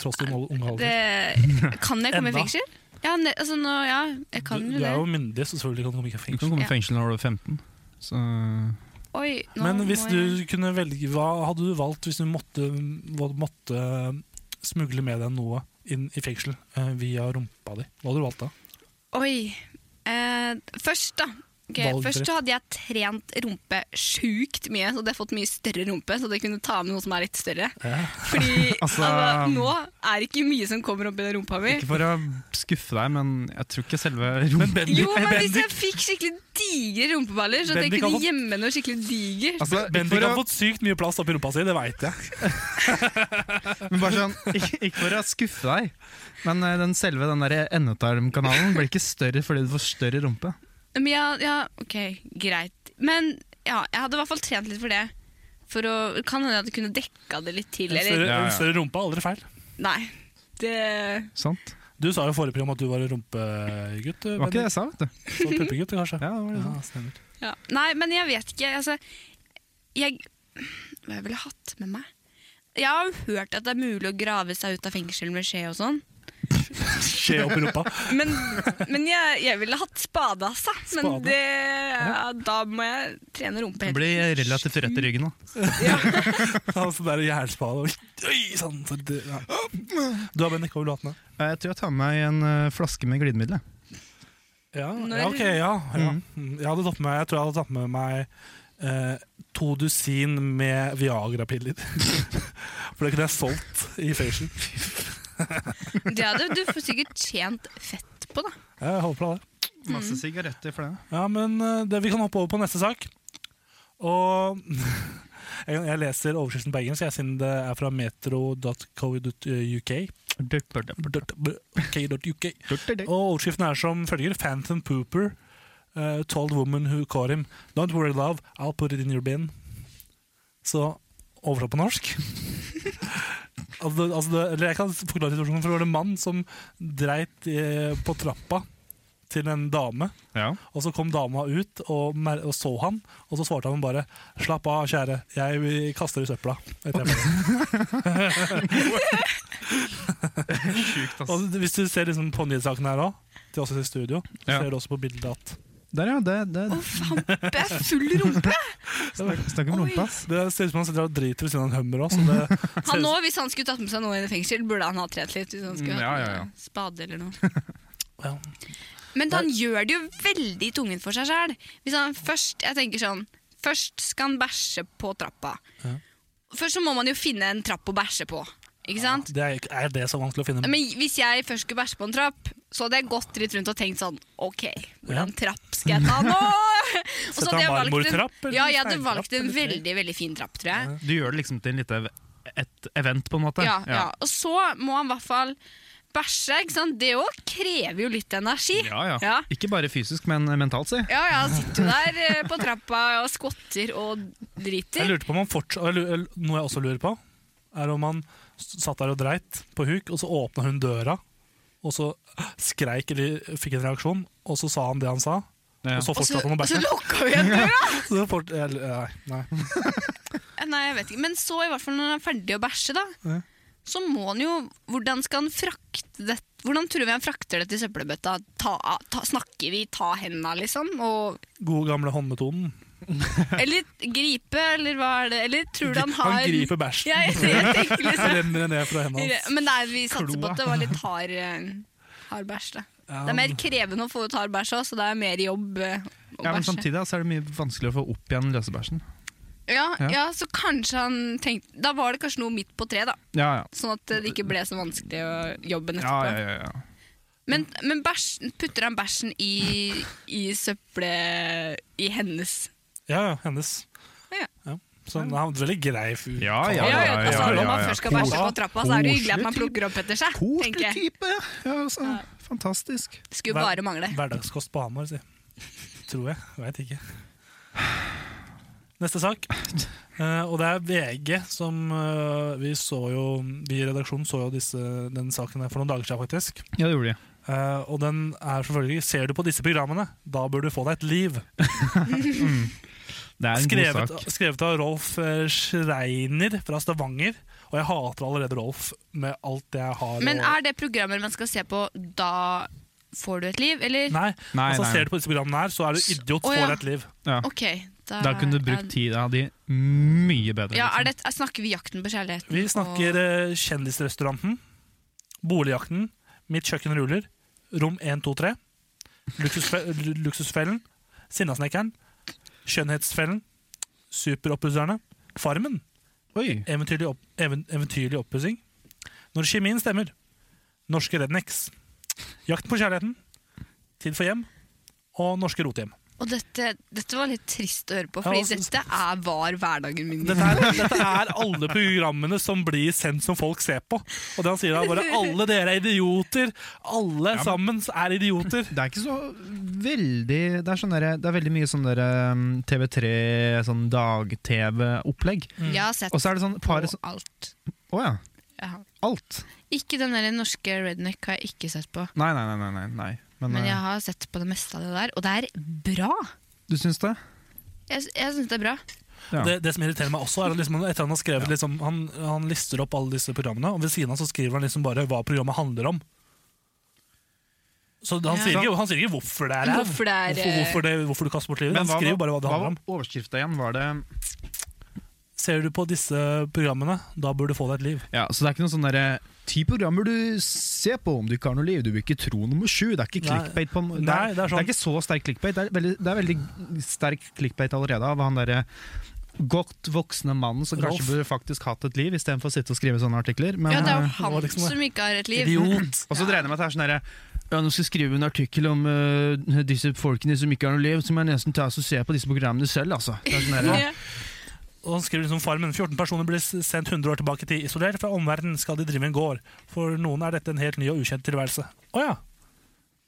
B: Tross din ung alder.
E: det, kan jeg komme i
B: Enda.
E: fengsel? Ja, ne, altså, nå, ja, jeg kan
B: du,
E: jo
B: du er jo
E: det.
B: myndig, så selvfølgelig kan du komme ikke i
C: Du
B: fengsel.
C: kan komme i
E: Ja.
C: fengsel når du er 15. Så
E: Oi, nå
B: Men hvis
E: må jeg-
B: du kunne velge, hva hadde du valgt hvis du måtte, hva- måtte smugle med deg noe inn i fengsel eh, via rumpa di? Hva hadde du valgt da?
E: Oi. Eh, først, da. Ok,
B: Valgfritt.
E: først så hadde jeg trent rumpe sjukt mye, så hadde jeg fått mye større rumpe. Så jeg kunne ta med noe som er litt større. Fordi
C: Altså-
E: altså, nå er det ikke mye som kommer opp i den rumpa mi.
C: Ikke for å skuffe deg, men jeg tror ikke selve rom-
E: Jo, men hvis jeg fikk skikkelig digre rumpeballer, så at jeg
B: Bendik har
E: kunne
B: fått-
E: gjemme noe skikkelig digert
C: Altså, ikke
B: Bendik
C: for
B: har
C: å-
B: fått sykt mye plass oppi rumpa si, det veit jeg.
C: Men bare sånn, ikke, ikke for å skuffe deg, men eh, den selve den der endetarmkanalen blir ikke større fordi du får større rumpe.
E: Men ja, ja, ok, greit. Men ja, jeg hadde i hvert fall trent litt for det. For å, kan hende at jeg kunne dekka det litt til.
B: En
E: Eller,
B: større,
C: Ja, ja.
B: en større rumpe er aldri feil.
E: nei. Det,
C: Sant?
B: Du sa jo i forrige program at du var en rumpegutt.
C: Det var ikke det
B: Bendik.
C: jeg sa, vet du.
B: Så puppegutt, kanskje.
C: Ja, det var det.
B: Ja, stemmer.
E: ja. Nei, men jeg vet ikke. Altså, jeg Hva jeg ville hatt med meg? Jeg har jo hørt at det er mulig å grave seg ut av fengsel med skje og sånn.
B: Skje opp i rumpa.
J: Men, men jeg, jeg ville hatt spade, altså. Men
B: Spade?
J: det, ja, da må jeg trene rumpe helt.
C: Blir relativt rett i ryggen, da.
B: Ha sånn der jernspade og Oi, sånn. Så det, ja. Du har Bennik, hva vil du ha til den?
C: Eh, Jeg tror jeg tar med meg en eh, flaske med glidemiddel. jeg.
B: Ja,
J: Når-
B: ja, ok, ja. ja. Mm. Jeg, hadde tatt med, jeg tror jeg hadde tatt med meg eh, to dusin med Viagra-piller. For det kunne jeg solgt i fengsel.
E: Det hadde du får sikkert tjent fett på, da.
B: Jeg håper da det.
E: Mm.
C: Masse sigaretter for det.
B: Ja, men eh, det, vi kan hoppe over på neste sak. Og jeg, jeg leser overskriften på engelsk, jeg, siden det er fra metro.co.uk. .co.uk. Og overskriften er som følger Phantom Pooper uh, told woman who caught him Don't worry love, I'll put it in your bin Så oversatt på norsk altså, det- altså, det, Eller jeg kan forklare situasjonen For det var en mann som dreit eh, på trappa Til en dame
C: Ja.
B: Og så kom dama ut og, mer og så han Og så svarte han bare Slapp av kjære, jeg kaster i søpla Etter jeg
C: Sjukt, ass.
B: Og hvis du ser liksom på nyhetssaken her også, til oss i studio, så
C: Ja.
B: ser du også på bildet at
C: Der, ja. Det, det,
J: Det er full rumpe!
C: Snakk- Snakk om rumpa, ass.
B: det ser ut som han sitter og driter ved siden av en hummer også. så Det,
E: Han nå, hvis han skulle tatt med seg noe inn i fengsel, burde han ha trent litt. Hvis han skulle
C: Mm, ja,
E: hatt
C: ja, ja.
E: en Spade eller noe.
B: ja.
E: Men han gjør det jo veldig tungen for seg sjæl. Hvis han først jeg tenker sånn, først skal han bæsje på trappa. Først så må man jo finne en trapp å bæsje på. Ikke sant?
B: det er, er det så vanskelig å finne?
E: Men hvis jeg først skulle bæsje på en trapp, så hadde jeg gått litt rundt og tenkt sånn OK, hvordan trapp skal jeg ta nå? Og
B: Sette
E: så hadde jeg
B: en
E: valgt
B: marmortrapp, eller
E: ja, jeg hadde
B: steintrapp,
E: valgt en
B: eller tre?
E: veldig veldig fin trapp, tror jeg.
C: Du gjør det liksom til en lite et event, på en måte.
E: Ja, ja. Og så må han i hvert fall bæsje. ikke sant? Det òg krever jo litt energi.
C: Ja, ja.
E: Ja.
C: Ikke bare fysisk, men eh, mentalt, si.
E: Ja, ja, han sitter jo der eh, på trappa og skvotter og
B: Jeg
E: driter.
B: lurte på om han fortsatt, eller- eller Noe jeg også lurer på, er om han s- satt der og dreit på huk, og så åpna hun døra, og så skreik eller fikk en reaksjon, og så sa han det han sa,
C: Ja.
B: og så
E: Og så,
B: fortsatte han å
E: og så
B: bæsje.
E: lukka hun igjen døra!
B: Så fort- eller, Nei. nei.
E: Nei, jeg vet ikke. Men så, i hvert fall når han er ferdig å bæsje, da,
B: Ja.
E: så må han jo Hvordan skal han frakte det? Hvordan tror vi han frakter det til søppelbøtta? Ta, ta, snakker vi 'ta henda', liksom? Og,
B: Gode gamle håndmetoden.
E: eller gripe, eller hva er det? Eller tror du han har
B: Han griper bæsjen.
E: Ja, jeg, jeg tenker
B: Det
E: liksom
B: renner ned fra hendene hans.
E: Men nei, vi satser på
C: Kloa.
E: at det var litt hard, eh, hard bæsj, da.
B: Ja,
E: Det er mer krevende å få ut hard bæsj òg, så det er mer jobb eh, å
C: Ja, men sånn
E: bæsje.
C: samtidig da, så er det mye vanskeligere å få opp igjen løsebæsjen.
E: Ja,
C: Ja.
E: ja. så kanskje han tenkte Da var det kanskje noe midt på treet, da.
C: Ja, ja.
E: Sånn at det ikke ble så vanskelig å jobben
C: Ja, ja,
E: etterpå.
C: ja, ja.
E: Men, men bæsj, putter han bæsjen i, i søppelet I hennes
B: Ja, ja, hennes.
E: Ja.
B: Så han er en veldig grei fyr.
C: Ja, ja,
E: Ja, ja, altså,
C: ja, ja,
E: Når man
C: ja.
E: først skal bæsje på
B: Koselig.
E: trappa, så er det jo hyggelig at man
C: Koselig
E: plukker opp etter seg. tenker
C: Koselig
E: jeg.
C: type, ja. ja altså, Fantastisk.
E: Det skulle jo bare mangle.
B: Hverdagskost på Hamar, si. Tror jeg. Veit ikke. Neste sak. Eh, og det er VG som eh, Vi så jo Vi i redaksjonen så jo disse, den saken her for noen dager siden, faktisk.
C: Ja, det gjorde de.
B: Eh, og den er selvfølgelig Ser du på disse programmene, da bør du få deg et liv.
C: Det er en
B: Skrevet,
C: god sak.
B: skrevet av Rolf eh, Schreiner fra Stavanger. Og jeg hater allerede Rolf med alt jeg har.
E: Men
B: og-
E: er det programmer man skal se på da får du et liv, eller?
B: Nei,
C: Nei,
B: altså
C: nei.
B: Ser du på disse programmene her, så er du idiot,
E: Å,
B: får
E: ja.
B: deg et liv.
C: Ja.
E: Ok, da,
C: Da kunne du brukt tida di mye bedre.
E: Ja, er
C: liksom.
E: det, Snakker vi jakten på kjærligheten?
B: Vi snakker eh, Kjendisrestauranten, Boligjakten, Mitt kjøkken ruller, Rom 123, luksusfe lu- Luksusfellen, Sinnasnekkeren, Skjønnhetsfellen, Superoppusserne, Farmen,
C: Oi.
B: Eventyrlig, opp even eventyrlig oppussing, Når kjemien stemmer, Norske rednecks, Jakten på kjærligheten, Tid for hjem og Norske rotehjem.
E: Og dette, dette var litt trist å høre på,
B: Ja,
E: Fordi
B: altså-
E: dette er var hverdagen min.
B: Dette er, dette er alle programmene som blir sendt som folk ser på. Og det han sier da, bare alle dere er idioter. Alle sammen er idioter.
C: Det er ikke så veldig Det er, sånn derre- det er veldig mye sånn derre um, TV3, sånn dag-TV-opplegg.
E: Jeg har sett
C: Og så er det sånn
E: på
C: par som
E: alt.
C: Å ja.
E: Ja.
C: Alt.
E: Ikke den der norske redneck har jeg ikke sett på.
C: Nei, nei, nei. nei, nei, nei. Men,
E: Men jeg
C: eh,
E: har sett på det meste av det der, og det er bra!
C: du syns det?
E: Jeg, jeg syns det er bra.
C: Ja.
B: Det, det som irriterer meg også, er at liksom, etter han har skrevet liksom, han, han lister opp alle disse programmene, og ved siden av så skriver han liksom bare hva programmet handler om. Så han, sier ikke, han sier ikke hvorfor det er ræv.
E: Hvorfor det er,
B: hvorfor, hvorfor, det, hvorfor du kaster bort livet. Han skriver bare hva det handler om.
C: var overskrifta igjen? Var det
B: Ser du på disse programmene, da bør du få deg et liv.
C: Ja, Så det er ikke noen sånn derre Ti programmer du ser på om du ikke har noe liv. Du vil ikke tro nummer sju. Det er ikke
B: Nei.
C: clickbait på det er,
B: Nei, det er sånn.
C: ikke så sterk clickbait. Det er veldig, det er veldig sterk clickbait allerede av han derre godt voksne mannen som
B: Rolf.
C: kanskje burde faktisk hatt et liv, istedenfor å sitte og skrive sånne artikler. Men,
E: Ja, det er
C: eh,
E: jo han som ikke har et liv.
C: Og så regner jeg med at det er sånn derre
A: Ja, nå skal jeg skrive en artikkel om eh, disse folkene som ikke har noe liv, så må jeg nesten ta oss og se på disse programmene selv, altså.
C: det er sånn derre-
B: Og han skriver liksom Farmen. 14 personer ble s- sendt 100 år tilbake i tid. Isolert fra omverdenen skal de drive en gård. For noen er dette en helt ny og ukjent tilværelse. Å ja.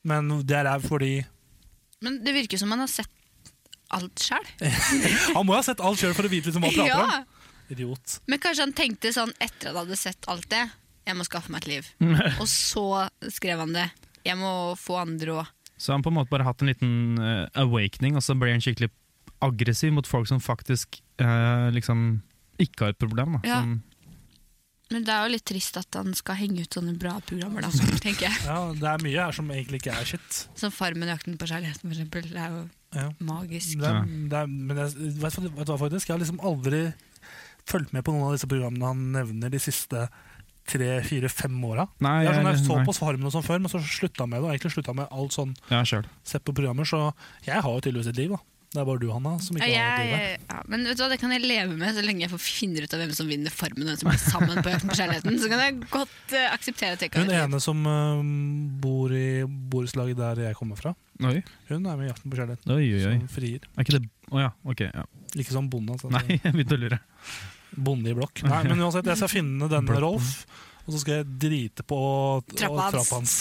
B: Men det er fordi
E: Men det virker som han har sett alt sjøl.
B: Han må jo ha sett alt sjøl for å vite liksom hva han prater
E: Ja.
B: om. Idiot.
E: Men kanskje han tenkte sånn etter at han hadde sett alt det Jeg må skaffe meg et liv. Og så skrev han det. Jeg må få andre òg.
C: Så han på en måte bare hatt en liten eh, awakening, og så ble han skikkelig aggressiv mot folk som faktisk eh, liksom ikke har et problem. Da.
E: Ja.
C: Som,
E: Men det er jo litt trist at han skal henge ut sånne bra programmer, da, tenker jeg.
B: Ja, det er mye her som egentlig ikke er shit.
E: Som Farmen og Jakten på kjærligheten, for eksempel. Det er jo
B: Ja.
E: magisk.
B: Det er, det er, men jeg, vet, du- vet du hva faktisk? Jeg har liksom aldri fulgt med på noen av disse programmene han nevner de siste tre, fire, fem åra.
C: Nei,
B: Jeg, er sånn, jeg
C: jeg-
B: så
C: nei.
B: på Farmen og sånn før, men så slutta jeg med det. Og egentlig slutta jeg med alt sånn
C: ja, selv.
B: sett på programmer, så jeg har jo tydeligvis et liv, da. Det er bare du, Hanna, som ikke
E: Ja,
B: har et
E: jeg-
B: liv. her.
E: ja, men vet du hva, Det kan jeg leve med så lenge jeg får finne ut av hvem som vinner Farmen og hvem som blir sammen på Jakten på kjærligheten. Så kan jeg godt eh, akseptere at jeg ikke har
B: Hun
E: et liv.
B: ene som øhm, bor i borettslaget der jeg kommer fra,
C: Oi,
B: hun er med i Jakten på kjærligheten.
C: oi, oi. oi.
B: Som frier.
C: Er ikke det Å ja, ok. Ja.
B: Ikke som bonde, altså.
C: Nei, jeg begynte å lure.
B: Bonde i blokk. Nei, men uansett, jeg skal finne denne Rolf, og så skal jeg drite på t-
E: Trappa
B: og
E: hans.
B: trappa hans.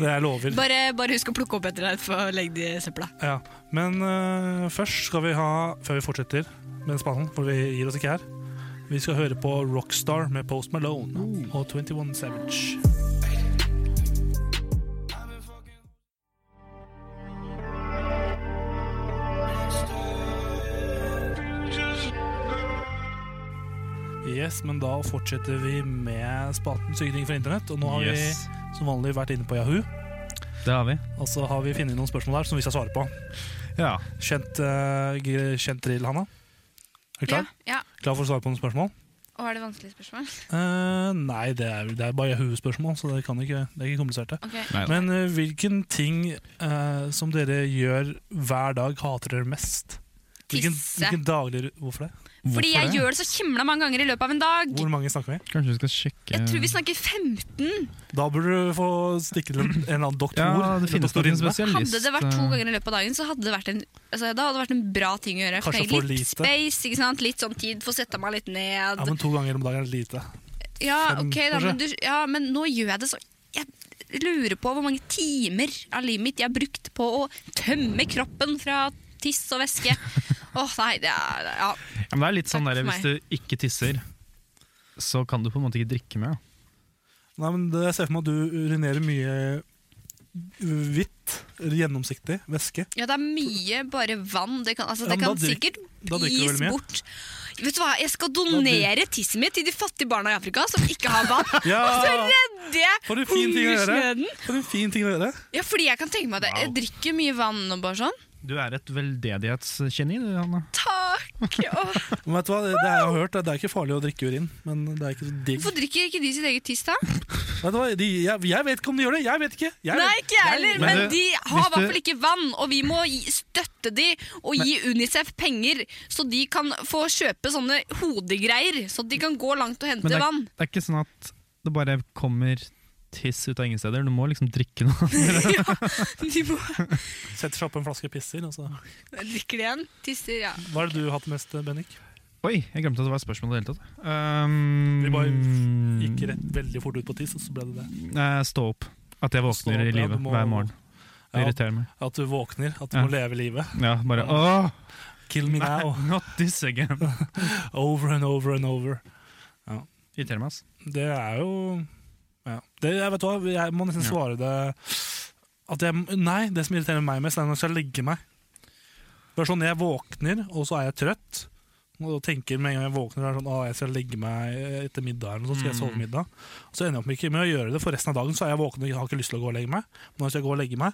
B: Det jeg lover.
E: Bare, bare husk å plukke opp etter deg for å legge det i søpla.
B: Ja. Men øh, først skal vi ha, før vi fortsetter med spannen, for vi gir oss ikke her, vi skal høre på Rockstar med Post Malone og 21 Savage. Yes, men da fortsetter vi med spalten Sykning fra internett. Og nå har
C: Yes.
B: vi som vanlig vært inne på Yahoo,
C: Det har vi.
B: og så har vi funnet noen spørsmål der som vi skal svare på.
C: Ja.
B: Kjent, eh, gr- kjent drill, Hanna. Er du klar?
E: Ja, ja.
B: Klar for å svare på noen spørsmål?
E: Og er det vanskelige spørsmål?
B: Eh, nei, det er, det er bare Yahoo-spørsmål, så det, kan ikke, det er ikke kompliserte.
E: Ok.
C: Nei,
B: Men eh, hvilken ting eh, som dere gjør hver dag, hater dere mest? Hvilken,
E: Tisse.
B: hvilken daglig ru- Hvorfor det?
E: Fordi jeg
C: det?
E: gjør det så himla mange ganger i løpet av en dag.
B: Hvor mange snakker vi?
C: Kanskje vi skal sjekke
E: Jeg tror vi snakker 15.
B: Da burde du få stikke til en en eller annen doktor.
C: Ja,
B: eller
C: det finnes nok en
B: doktorinne.
C: spesialist.
E: Hadde det vært to ganger i løpet av dagen, så hadde det vært en, altså, da hadde det vært en bra ting å gjøre. For
B: Kanskje
E: jeg trenger
B: for
E: litt
B: lite.
E: space, ikke sant? litt sånn tid, få sette meg litt ned.
B: Ja, men To ganger om dagen er lite.
E: Ja,
B: fem,
E: ok da,
B: kanskje?
E: men, du, ja, men nå gjør jeg det så Jeg lurer på hvor mange timer av livet mitt jeg har brukt på å tømme kroppen fra tiss og væske. Åh, nei, det er
C: Ja,
E: ja.
C: men det er litt sånn
E: Takk
C: der,
E: for
C: Hvis du ikke tisser, så kan du på en måte ikke drikke mer. da.
B: Nei, men det, Jeg ser for meg at du urinerer mye hvitt, gjennomsiktig væske.
E: ja, det er mye bare vann. Det kan, altså,
B: Ja,
E: det
B: men
E: kan
B: da drikk-
E: sikkert
B: da drikker du
E: gis
B: vel mye?
E: bort. Vet du hva, Jeg skal donere tisset mitt til de fattige barna i Afrika som ikke har vann.
B: Ja!
E: Det
B: For en fin ting å gjøre!
E: Hungersnøden.
B: For en fin ting å gjøre.
E: Ja, fordi jeg kan tenke meg at jeg, jeg drikker mye vann og bare sånn.
C: Du er et veldedighetsgeni, du, Hanna.
E: Takk! Åh,
B: Men vet du hva, det jeg har hørt, det er ikke farlig å drikke urin, men det er ikke så digg.
E: Hvorfor drikker ikke de sitt eget tiss, da?
B: Vet du hva, de, jeg, jeg vet ikke om de gjør det, jeg vet ikke. Jeg,
E: Nei, ikke jeg heller,
C: Men
E: men
C: du,
E: de har
C: hvis
E: i hvert fall
C: du-
E: ikke vann, og vi må gi- støtte de og gi Unicef penger, så de kan få kjøpe sånne hodegreier, så de kan gå langt og hente
C: Men det er,
E: vann.
C: det er ikke sånn at det bare kommer tiss ut av ingen steder. Du må liksom drikke noe.
E: De må...
B: Setter seg opp en flaske pisser. Altså.
E: Drikker de igjen? Tisser, ja.
B: Hva er det du har hatt mest, Bennik?
C: Oi, jeg glemte at det var et spørsmål i det hele tatt. Um,
B: Vi bare Gikk rett veldig fort ut på tiss, og så ble det det.
C: Eh, Stå opp. At jeg
B: Stå
C: våkner
B: opp,
C: i
B: ja,
C: livet
B: du må-
C: hver morgen. Det
B: Ja,
C: irriterer meg.
B: at du våkner, at du
C: Ja.
B: må leve livet.
C: Ja, bare åh,
B: Kill me now.
C: not this again.
B: Over and over and over.
C: Irriterer meg, ass.
B: Det er jo ja. det, jeg, vet hva, jeg må nesten
C: Ja.
B: svare det at jeg, Nei, det som irriterer meg mest, er når jeg skal legge meg. Det er sånn, Jeg våkner, og så er jeg trøtt. Og tenker med en gang jeg våkner er det sånn, «Å, jeg skal legge meg etter middag, eller noe sånt, skal jeg sove middag. Og så ender jeg opp med ikke med å gjøre det, for resten av dagen så er jeg våken og jeg har ikke lyst til å gå og legge meg. Men når jeg skal gå og legge meg,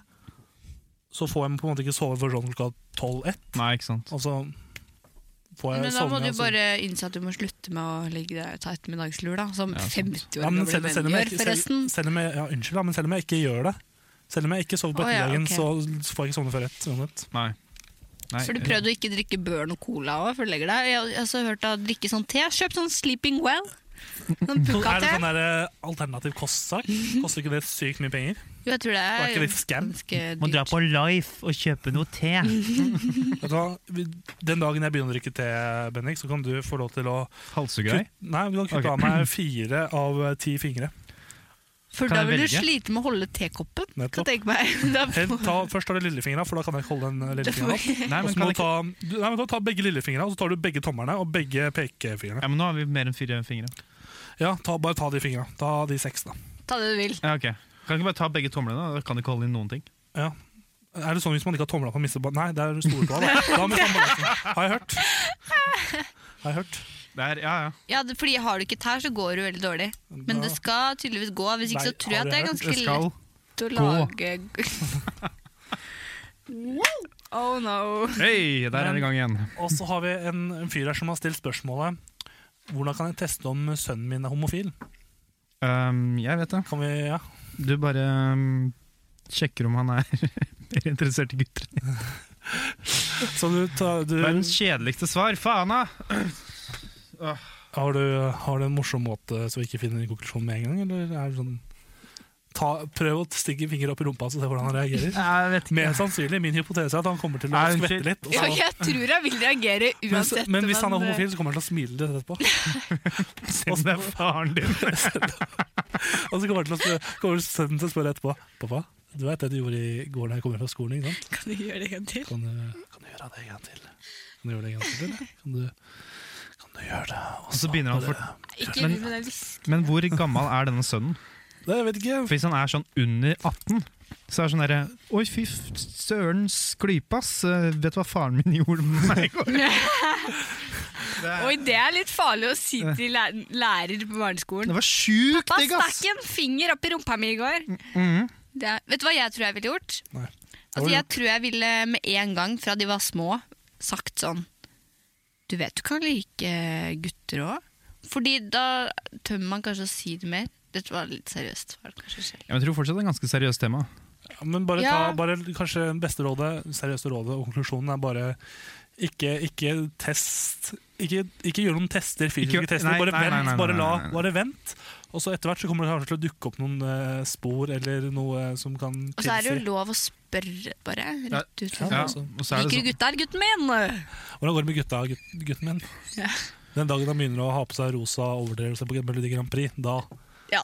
B: så får jeg på en måte ikke sove før sånn klokka 12-1.
C: Nei, ikke sant.
B: Og så får jeg
E: Men da må
B: sovne,
E: du
B: og så-
E: bare innse at du må slutte med å legge deg ta ettermiddagslur, da. Som
C: Ja, sant.
E: 50 år
B: Ja, men
E: gamle
B: selv,
E: menn
B: selv, om jeg,
E: gjør,
B: ikke-
E: forresten.
B: selv, selv om jeg, ja, unnskyld, da, men selv om jeg ikke gjør det, selv om jeg ikke sover på
E: Å, ja,
B: ettermiddagen,
E: ok.
B: så- så får jeg ikke sovne før ett. uansett.
C: Nei. Nei.
E: Så du prøvde å ikke drikke Børn og Cola òg, før du legger deg? Jeg har også hørt deg drikke sånn te. Kjøp sånn Sleeping Well. Sånn
B: Er det
E: pukka-te.
B: sånn der, eh, alternativ kostsak? Koster ikke det sykt mye penger?
E: Mhm. Jo, jeg tror det
B: Var ikke
E: er
B: litt scam?
E: ganske
K: Må dra
E: dyrt.
K: på Life og kjøpe noe te.
B: Vet du hva? Vi- Den dagen jeg begynner å drikke te, Bendik, så kan du få lov til å
C: Halshugge
B: kutte,
C: deg?
B: nei, du kan kutte
C: Ok.
B: av meg fire av eh, ti fingre.
E: For
C: Kan
E: da
C: jeg
E: vil du
C: velge?
E: slite med å holde tekoppen, kan
B: Nettopp.
E: jeg tenke meg. Da
B: Helt, ta, først tar du lillefingra, for da kan jeg ikke holde den eh,
E: Da
B: lillefingeren
E: får
B: opp.
E: vi-
C: Nei,
B: Og
C: men
B: så må
C: kan
B: du
C: jeg ikke...
B: ta, du, nei, men da tar begge lillefingra, og så tar du begge tommerne og begge pekefingrene.
C: Ja, men nå har vi mer enn fire fingre.
B: Ja, ta, bare ta de fingra. Ta de seks, da.
E: Ta det du vil.
C: Ja, ok. Kan jeg ikke bare ta begge tomlene? Da Da kan du ikke holde inn noen ting.
B: Ja. Er det sånn hvis man ikke har tomla på mister ba- Nei, det er stortåa, da. da må man balanse. Har jeg hørt. Har jeg hørt.
C: Det er, ja, ja.
E: Ja, det- fordi har du ikke tær, så går det jo veldig dårlig. Men
B: Da-
E: det skal tydeligvis gå. Hvis ikke
B: Nei,
E: så tror jeg
B: har
E: at det er
B: jeg
E: ganske
C: Det skal
E: lett å
C: gå.
E: lage Oh no.
C: Hei, der er det i gang igjen.
B: Og så har vi en, en fyr her som har stilt spørsmålet Hvordan kan jeg teste om sønnen min er homofil?
C: Um, jeg vet det.
B: Kan vi, ja
C: Du bare um, sjekker om han er mer interessert i gutter.
B: Så du, tar- du
C: Verdens kjedeligste svar. Faen, da!
B: har, du, har du en morsom måte så vi ikke finner en konklusjon med en gang? Eller er det sånn ta, Prøv å stikke en finger opp i rumpa og se hvordan han reagerer.
C: Jeg vet
B: Mer sannsynlig. Min hypotese er at han kommer til å
C: Nei, unnskyld.
B: skvette litt. og
E: Ja,
B: så-
E: jeg tror jeg vil reagere
B: men,
E: uansett.
B: men hvis han er
E: men, eh,
B: homofil, så kommer han til å smile litt etterpå.
C: Siden det er faren din.
B: Og så kommer, han til å spørre, kommer sønnen til å spørre etterpå Pappa, du vet det du gjorde i går da jeg kom hjem fra skolen? ikke sant?
E: eh, Kan du gjøre det en gang til?
B: Kan du, kan du gjøre det en gang til? Kan du gjøre det en gang til? eller? Kan du, kan du gjøre det?
C: Og så begynner han for...
E: Ikke
C: Men-
E: med den listen.
C: Men hvor gammel er denne sønnen?
B: Det jeg vet ikke.
C: For Hvis han er sånn under 18, så er det sånn derre Oi, fy f- søren sklype, ass. Eh, Vet du hva faren min gjorde med meg i går? Det,
E: Oi,
C: er-
E: det er litt farlig å si til læ- lærer på barneskolen.
C: det var sjukt
E: Hva
C: digg, ass!
E: stakk en finger opp i rumpa mi i går?
C: Mhm.
E: Det er, vet du hva jeg tror jeg ville gjort?
B: Mm, Nei. Hva
E: Altså,
B: ville
E: jeg tror jeg ville med en gang, fra de var små, sagt sånn Du vet du kan like gutter òg? Fordi da tør man kanskje å si det mer. Dette var litt seriøst. Var det kanskje selv.
C: Ja, men Jeg tror fortsatt det er et ganske seriøst tema.
B: Ja, Men bare
E: Ja.
B: ta bare, kanskje beste rådet, seriøse rådet og konklusjonen er bare ikke, ikke test ikke, ikke gjør noen tester, fysiske
C: Ikke-
B: tester.
C: nei,
B: Bare
C: nei, nei,
B: vent.
C: nei, nei,
B: Bare, la,
C: nei, nei.
B: bare vent. Og så etter hvert så kommer det kanskje til å dukke opp noen eh, spor eller noe som kan
E: Og så er det
B: tilsi
E: jo lov å spørre, bare. Rett ut. liksom.
B: Ja,
C: Ja,
B: altså.
C: og så er det
E: Liker du
C: sånn,
E: gutta her, gutten min?
B: Hvordan går det med gutta, gutt, gutten min?
E: Ja.
B: Den dagen han begynner å ha på seg rosa overdrevelse på Melodi Grand Prix, da
E: Ja.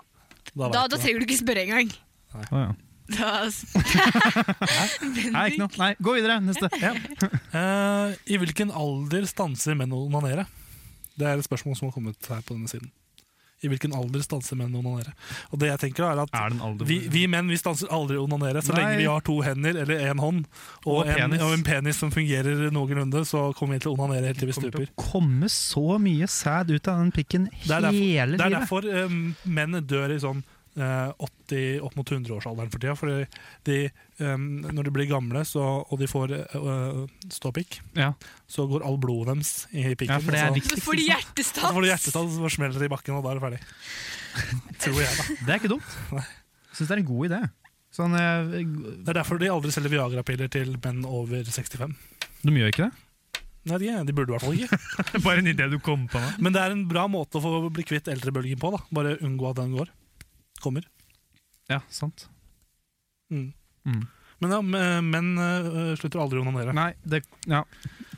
B: Da,
E: Da,
B: vet
E: da
B: du.
E: trenger du ikke spørre engang.
C: sånn, Å, ja.
E: Da
C: Nei, ikke noe. Nei, gå videre. Neste. Ja.
B: Eh, I hvilken alder stanser menn å onanere? Det er et spørsmål som har kommet her på denne siden. I hvilken alder stanser menn å onanere? Og det jeg tenker da er at
C: Er det en alder
B: vi, vi menn vi stanser aldri å onanere så
C: Nei.
B: lenge vi har to hender eller én hånd og,
C: Og
B: en,
C: penis.
B: og en penis som fungerer noenlunde, så kommer vi til å onanere helt til vi
C: kommer
B: stuper.
C: til å komme så mye sæd ut av den pikken
B: er derfor-
C: hele
B: Det er
C: livet.
B: derfor eh, menn dør i sånn eh, 80 opp mot 100-årsalderen for tida. Fordi de, eh, når de blir gamle så, og de får eh, ståpikk,
C: Ja.
B: så går all blodet deres i pikken.
C: Ja, for det er
B: og så-
C: viktig.
E: får
B: Så får
E: de
B: du
E: hjertestans.
B: hjertestans og smeller det i bakken, og da er det ferdig. Tror jeg, da.
C: Det er ikke dumt.
B: Nei.
C: Syns det er en god idé. Sånn, eh,
B: Det er derfor de aldri selger Viagra-piller til menn over 65.
C: de gjør ikke det?
B: Nei, de, de burde i hvert fall ikke.
C: Bare en idé du kom på nå.
B: Men det er en bra måte å få bli kvitt eldrebølgen på. da. Bare unngå at den går. Kommer.
C: Ja, sant.
B: Mm.
C: Mm.
B: Men ja, men- menn øh, slutter aldri å onanere.
C: Nei, det Ja.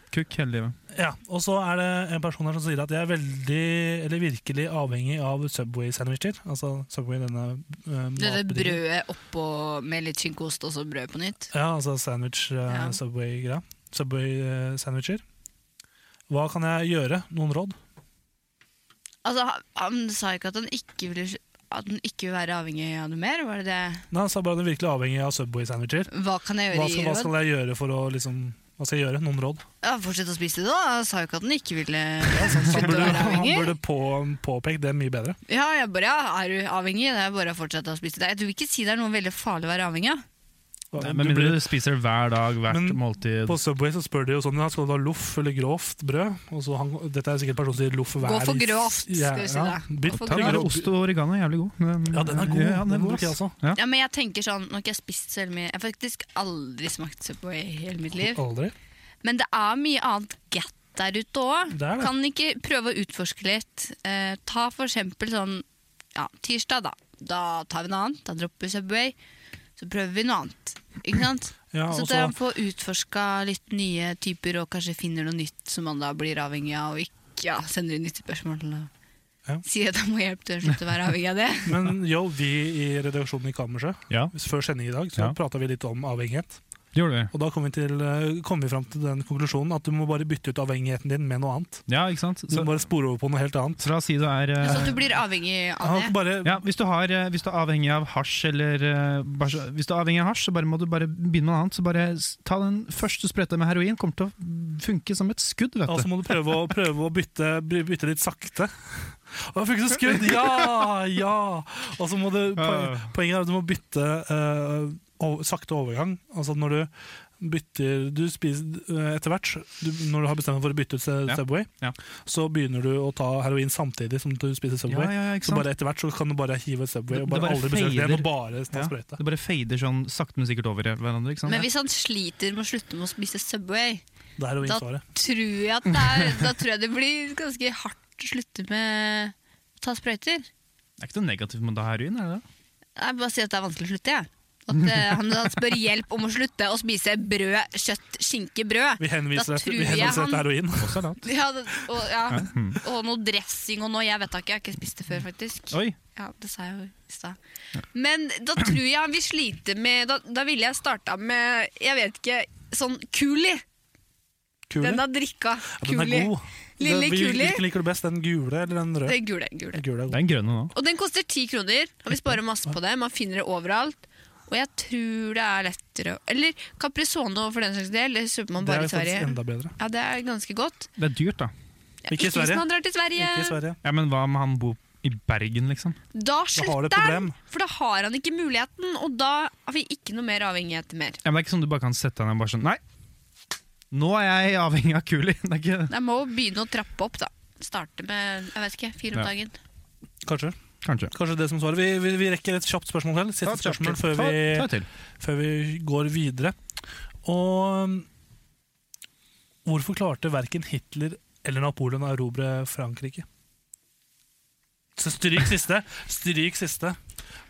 C: Kukk hele livet.
B: Ja, og så er det en person her som sier at jeg er veldig, eller virkelig avhengig av Subway-sandwicher. Altså Subway, denne øh,
E: Dette
B: matbutikken.
E: brødet oppå med litt skinkost og så brød på nytt.
B: Ja, altså sandwich, øh,
E: Ja.
B: Subway-greia. Subway-sandwicher. Hva kan jeg gjøre? Noen råd?
E: Altså, han, han sa ikke at han ikke ville at den ikke vil være avhengig av noe mer? Var det det?
B: altså, Nei, så er bare den virkelig avhengig av Subway-sandwicher.
E: Hva kan jeg
B: Hva,
E: gjøre
B: skal- hva
E: i råd?
B: skal jeg gjøre for å liksom Hva skal jeg gjøre? Noen råd?
E: Ja, Fortsett å spise det, da. Jeg sa jo ikke at den ikke ville
B: Han
E: slutte å
B: burde,
E: være
B: han
E: avhengig.
B: burde på, påpekt det mye bedre.
E: Ja, jeg bare, ja, er du avhengig? Det er bare å fortsette å spise det. Jeg vil ikke si det er noe veldig farlig å være avhengig av.
C: Nei, men mindre du spiser hver dag, hvert måltid.
B: På Subway så spør de jo sånn ja, Skal du ha loff eller grovt brød. Og så han, dette er sikkert en person som sier loff hver
E: Gå for grovt,
B: Ja,
E: skal vi si
B: ja.
E: det.
B: Bytt
E: Gå for
B: til
C: Da er
B: grov-
C: ost og oregano er jævlig god.
B: Ja, den er god.
C: Ja, den er
B: Den altså.
C: god
B: bruker jeg
C: ass.
B: også.
C: Ja.
E: Ja, men jeg tenker sånn, Nå har ikke jeg spist så veldig mye. Jeg har faktisk aldri smakt Subway i hele mitt liv.
B: Aldri.
E: Men det er mye annet gatt der ute òg.
B: Det er det.
E: Kan ikke prøve å utforske litt. Eh, ta for eksempel sånn ja, tirsdag, da. Da tar vi noe annet. Da dropper vi Subway. Så prøver vi noe annet. Ikke sant?
B: Ja, altså,
E: så
B: og
E: dere
B: så-
E: får utforska litt nye typer og kanskje finner noe nytt som man da blir avhengig av, og ikke ja, sender inn nytt spørsmål. Og
B: Ja.
E: sier at jeg må hjelpe til å slutte å være avhengig av det.
B: Men jo, vi i redaksjonen i Kammerset,
C: Ja.
B: før sending i dag, så
C: Ja.
B: prata vi litt om avhengighet.
C: Gjorde vi.
B: Og da kom vi, til, eh, kom vi fram til den konklusjonen at du må bare bytte ut avhengigheten din med noe annet.
C: Ja, ikke sant?
B: Du
C: Så,
B: må bare spore over på noe helt annet.
C: så la oss si du er eh,
E: Så at du blir avhengig av det.
C: ja, hvis, du har, eh, hvis du er avhengig av hasj, eller eh, bare, så- hvis du er avhengig av hasj, så bare må du bare begynne med noe annet. Så bare s- ta den første sprøyta med heroin. Kommer til å funke som et skudd, vet
B: Og så
C: du.
B: må du prøve å, prøve å bytte, by- bytte litt sakte. Og jeg fikk så skudd! Ja! Ja! Og så må du poen- Poenget er at du må bytte eh, o- sakte overgang. Altså når du bytter du spiser, eh, Etter hvert, du, når du har bestemt deg for å bytte ut Se-
C: Ja.
B: Subway,
C: Ja.
B: så begynner du å ta heroin samtidig som du spiser Subway.
C: Ja, ja, ja, ikke
B: så
C: sant?
B: bare etter hvert så kan du bare hive Subway og
C: Det- det
B: bare, aldri besøke det igjen. Og bare ta
C: ja,
B: sprøyte.
C: det bare fader sånn sakte, men sikkert over hverandre. Ikke sant?
E: Men hvis han sliter med å slutte med å spise
B: Det
E: Subway,
B: er
E: da tror,
B: heroinsvaret.
E: jeg at det er, da tror jeg det blir ganske hardt å slutte med å ta sprøyter.
C: Det er ikke noe negativt med å ta heroin? er det det?
E: Jeg bare sier at det er vanskelig å slutte, jeg. At eh, han, han spør hjelp om å slutte å spise brød, kjøtt, skinke, brød.
B: Vi henviser
E: da
B: etter, vi
E: tror jeg
B: henviser
E: han-
B: etter heroin.
E: Ja, det- og, ja.
C: Mm.
E: og noe dressing og noe, jeg vet da ikke, jeg har ikke spist det før faktisk.
C: Oi.
E: Ja, det sa jeg jo i stad. Men da tror jeg han vil slite med Da, da ville jeg starta med, jeg vet ikke, sånn Cooley.
B: Kuli?
E: Den har drikka.
B: Ja, den
E: Cooley.
B: er god.
E: Lille
B: Det- hvil-
E: Cooley.
B: Hvilken liker du best, den gule eller den røde?
E: Det er gule, gule.
B: Gule er god.
C: Den grønne nå.
E: Og den koster ti kroner, og vi sparer masse på det. Man finner det overalt. Og jeg tror det er lettere å- Eller Caprisono for den saks del. Det kjøper man
B: Det er
E: bare i
B: jo faktisk
E: Sverige.
B: enda bedre.
E: Ja, det er ganske godt.
C: Det er dyrt, da.
E: Ja, ikke hvis man drar til Sverige.
C: Ja, Men hva om han bor i Bergen, liksom?
E: Da
C: har du et
E: slutter han!
C: problem.
E: For da har han ikke muligheten, og da har vi ikke noe mer avhengighet mer.
C: Ja, men det er ikke sånn du bare kan sette deg ned og bare sånn Nei, nå er jeg avhengig av Kuli. Det er ikke
E: Jeg må begynne å trappe opp, da. Starte med jeg vet ikke, fire
C: Ja.
E: om dagen.
B: Kanskje.
C: Kanskje.
B: det som svaret. Vi, vi, vi rekker et kjapt spørsmål til. Siste
C: Ta et kjapt
B: spørsmål
C: til.
B: før vi,
C: Ta- ta et til.
B: før vi går videre. Og um, hvorfor klarte verken Hitler eller Napoleon å erobre Frankrike? Så stryk siste. Stryk siste.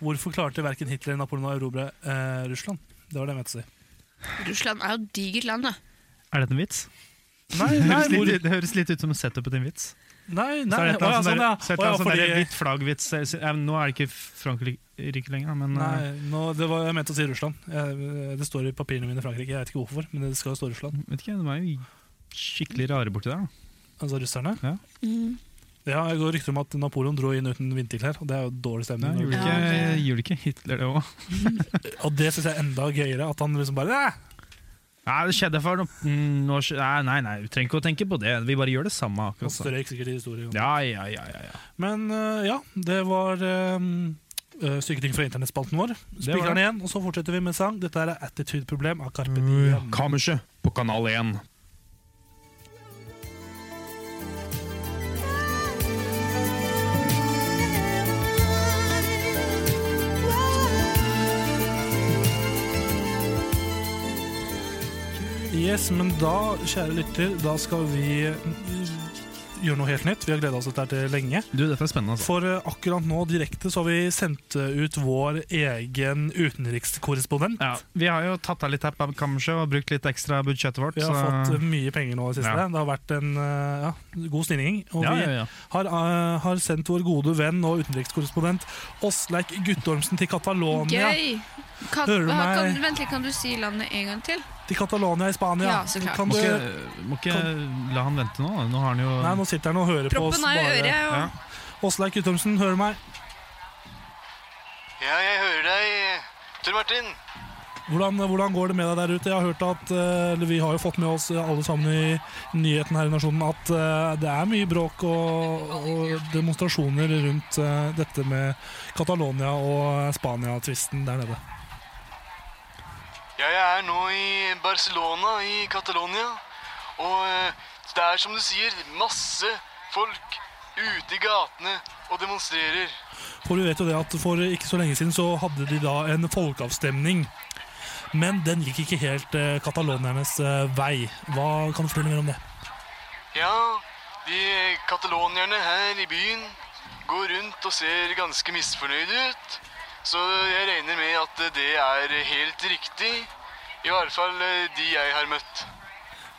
B: Hvorfor klarte verken Hitler eller Napoleon å erobre eh, Russland? Det var det jeg mente å si.
E: Russland er jo et digert land, da.
C: Er dette en vits?
B: Nei,
C: det,
B: nei,
C: høres litt,
B: hvor-
C: ut- det høres litt ut som en setup til en vits.
B: Nei,
C: Så er
B: nei,
C: det et eller
B: å ja,
C: annet
B: sånn,
C: sånn
B: ja.
C: der- så er
B: Å
C: det et eller
B: ja,
C: annet sånn der
B: fordi-
C: hvitt flagg-vits. Jeg- jeg- Nå er det ikke Frankrike lenger, men
B: Nei,
C: eh,
B: nå, det var, jeg mente å si Russland. Jeg, eh, det står i papirene mine i Frankrike. Jeg vet ikke hvorfor, men det skal jo stå Russland.
C: vet ikke, de er jo skikkelig rare borti der. da.
B: Altså russerne.
C: Ja.
B: Ja, jeg går rykter om at Napoleon dro inn uten vinterklær, og det er jo dårlig
C: Nei,
B: stemning.
C: gjorde ikke, gjorde ikke Hitler det òg?
B: Og det syns jeg er enda gøyere, at han liksom bare "Æ!"
C: Nei, det skjedde for noen år siden. Nei, nei, vi trenger ikke å tenke på det. Vi bare gjør det samme.
B: Han
C: akkurat sånn.
B: strøyk sikkert i historien.
C: Ja, ja, ja, ja, ja.
B: Men øh, ja, det var um, stykketing fra internettspalten vår. Spiller den igjen, og så fortsetter vi med sang. Dette her er Attitude Problem av Carpe Diem.
L: Kammerset på Kanal 1.
B: Yes, men da, kjære lytter, da skal vi gjøre noe helt nytt. Vi har gleda oss til dette her til lenge.
C: Du, dette er spennende. Altså.
B: For eh, akkurat nå direkte så har vi sendt eh, ut vår egen utenrikskorrespondent.
C: Ja, vi har jo tatt av litt her på kammerset og brukt litt ekstra budsjettet vårt.
B: Vi har
C: så-
B: fått eh, mye penger nå i det siste.
C: Ja.
B: Det har vært en eh, ja, god stigning. Og
C: Ja,
B: vi
C: ja, ja.
B: Har, eh, har sendt vår gode venn og utenrikskorrespondent Åsleik Guttormsen til Catalonia.
E: Gøy! Kan,
B: Hører du
E: hva- kan,
B: meg?
E: vent litt, kan du si landet en gang til?
B: Til Catalonia i Spania.
E: Ja, så klart.
B: Kan
C: Må
B: du,
C: ikke, må ikke la han vente nå. da. Nå har han jo
B: nei, nå sitter han og hører på oss
E: Proppen er i
B: bare.
E: øret, jeg, og-
B: Åsleik Guttormsen, hører du meg?
H: Ja, jeg hører deg, Tor Martin.
B: Hvordan, hvordan går det med deg der ute? Jeg har hørt at, eh, eller Vi har jo fått med oss eh, alle sammen i nyheten her i nasjonen at eh, det er mye bråk og, og demonstrasjoner rundt eh, dette med Catalonia og eh, Spania-tvisten der nede.
H: Ja, jeg er nå i Barcelona i Catalonia. Og eh, det er som du sier, masse folk ute i gatene og demonstrerer.
B: For vi vet jo det at for ikke så lenge siden så hadde de da en folkeavstemning. Men den gikk ikke helt eh, kataloniernes eh, vei. Hva kan du fortelle mer om det?
H: Ja, de katalonierne her i byen går rundt og ser ganske misfornøyde ut. Så jeg regner med at det er helt riktig. I hvert fall eh, de jeg har møtt.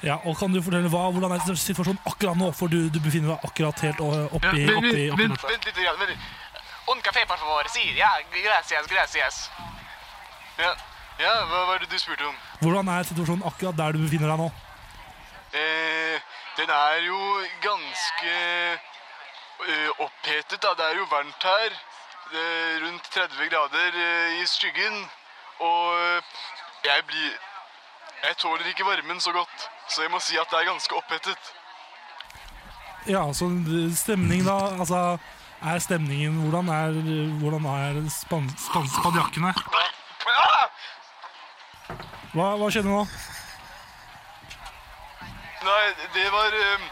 B: Ja, og kan du fortelle hva, Hvordan er situasjonen akkurat nå? For du, du befinner deg akkurat helt eh, oppi,
H: Ja,
B: oppi, oppi
H: vent, vent litt. grann, Vent. Un café, por favor. Sí, ja, gracias, gracias. Ja, ja hva var det du spurte om?
B: Hvordan er situasjonen akkurat der du befinner deg nå?
H: Eh, den er jo ganske eh, opphetet, da. Det er jo varmt her. Eh, rundt 30 grader eh, i skyggen. Og eh, jeg blir Jeg tåler ikke varmen så godt, så jeg må si at det er ganske opphetet.
B: Ja, så stemning da Altså, er stemningen Hvordan er, hvordan er span, span, spanjakkene? Hva, hva skjedde nå?
H: Nei, det var eh,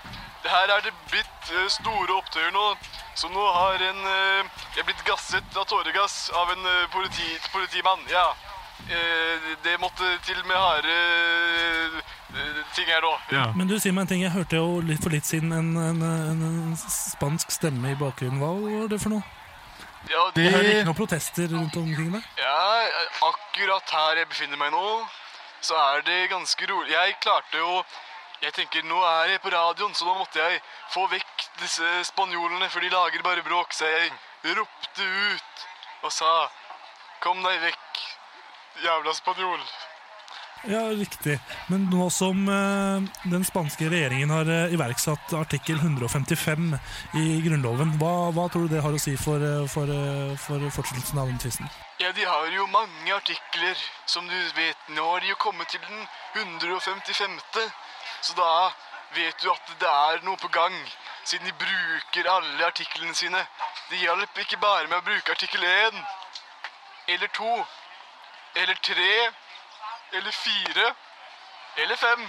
H: det Her er det blitt eh, store opptøyer nå. Så nå har en eh, Jeg er blitt gasset av tåregass av en eh, politi, politimann. Ja. Eh, Det måtte til med harde eh, ting her nå.
B: Men du, si meg en ting. Jeg hørte jo litt for litt siden en, en, en, en spansk stemme i bakgrunnen. Hva var det for noe?
H: Ja,
B: Jeg hørte
H: det-
B: ikke noen protester rundt omkring der.
H: Ja, akkurat her jeg befinner meg nå, så er det ganske rolig. Jeg klarte jo Jeg tenker, nå er jeg på radioen, så nå måtte jeg få vekk disse spanjolene, for de lager bare bråk. Så jeg ropte ut og sa Kom deg vekk, jævla spanjol.
B: Ja, riktig. Men nå som eh, den spanske regjeringen har eh, iverksatt artikkel 155 i Grunnloven, hva, hva tror du det har å si for, eh, for, eh, for fortsettelsen av den tvisten?
H: Ja, de har jo mange artikler, som du vet. Nå har de jo kommet til den 155. Så da vet du at det er noe på gang, siden de bruker alle artiklene sine. Det hjalp ikke bare med å bruke artikkel 1, eller 2, eller 3, eller 4, eller 5.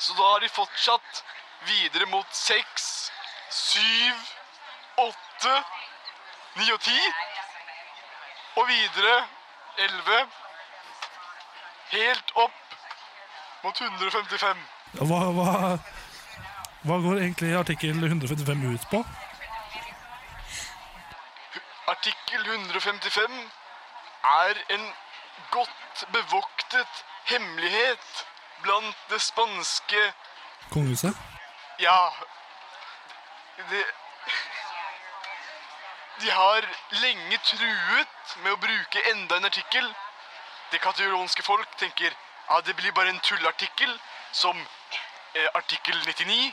H: Så da har de fortsatt videre mot 6, 7, 8, 9 og 10. Og videre 11. Helt opp mot 155.
B: Hva, hva, hva går egentlig artikkel 155 ut på?
H: Artikkel 155 er en godt bevoktet hemmelighet blant det spanske
B: Kongehuset?
H: Ja. Det De har lenge truet med å bruke enda en artikkel. Det katalonske folk tenker ja, det blir bare en tullartikkel, som eh, artikkel 99.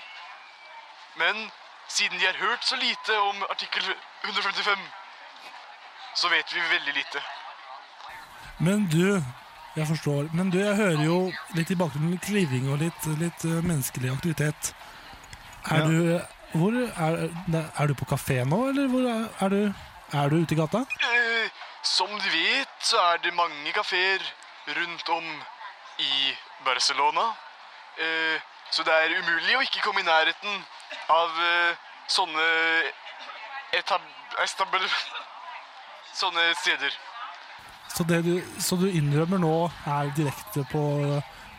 H: Men siden de har hørt så lite om artikkel 155, så vet vi veldig lite.
B: Men du, jeg forstår. Men du, jeg hører jo litt i bakgrunnen litt klirring og litt, litt eh, menneskelig aktivitet. Er
C: Ja.
B: du hvor er, er du på kafé nå, eller hvor er, er du? Er du ute i gata?
H: Eh, som du vet, så er det mange kafeer rundt om i Barcelona. Eh, så det er umulig å ikke komme i nærheten av eh, sånne etab... establ... Sånne steder.
B: Så, det du, så du innrømmer nå her direkte på,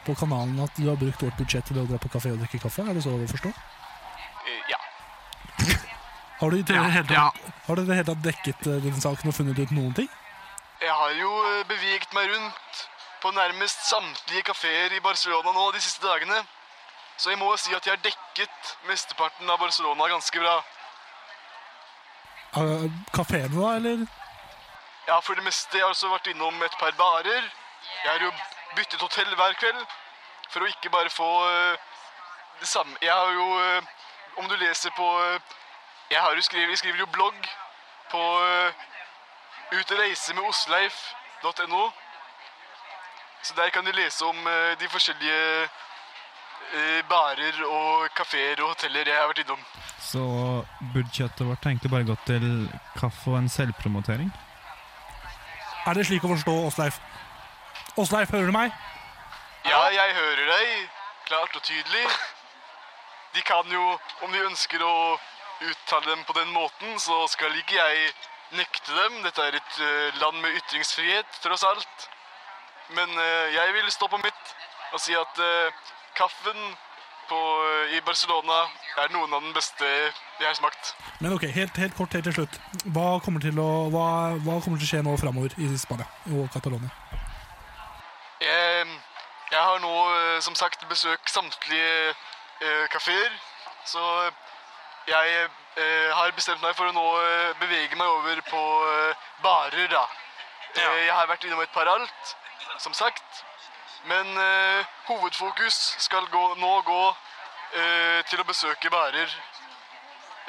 B: på kanalen at du har brukt vårt budsjett til å dra på kafé og drikke kaffe? Er det så å forstå?
H: Eh, ja.
B: Har du i det hele tatt, har dere i det hele tatt dekket eh, den saken og funnet ut noen ting?
H: Jeg har jo eh, beveget meg rundt på nærmest samtlige kafeer i Barcelona nå de siste dagene. Så jeg må si at jeg har dekket mesteparten av Barcelona ganske bra.
B: Eh, Kafeene, da, eller?
H: Ja, for det meste. Jeg har også vært innom et par barer. Jeg har jo byttet hotell hver kveld for å ikke bare få eh, det samme. Jeg har jo eh, Om du leser på eh, Jeg har jo skrevet, jeg skriver jo blogg eh, på uh, utreisemedosleif.no. Så der kan du lese om eh, de forskjellige eh, barer og kafeer og hoteller jeg har vært innom.
C: Så budsjettet vårt tenkte bare gått til kaffe og en selvpromotering.
B: Er det slik å forstå Åsleif? Åsleif, hører du meg?
H: Ja, jeg hører deg. Klart og tydelig. De kan jo, om de ønsker å uttale dem på den måten, så skal ikke jeg nekte dem. Dette er et eh, land med ytringsfrihet, tross alt. Men eh, jeg vil stå på mitt og si at eh, kaffen på, eh, i Barcelona er noen av den beste jeg har smakt.
B: Men ok, helt, helt kort helt til slutt. Hva kommer til å, hva, hva kommer til å skje nå framover i Spania og Catalonia?
H: Jeg, jeg har nå eh, som sagt besøkt samtlige eh, kafeer, så jeg eh, har bestemt meg for å nå eh, bevege meg over på eh, barer, da. Eh, jeg har vært innom et par alt, som sagt. Men eh, hovedfokus skal gå, nå gå eh, til å besøke barer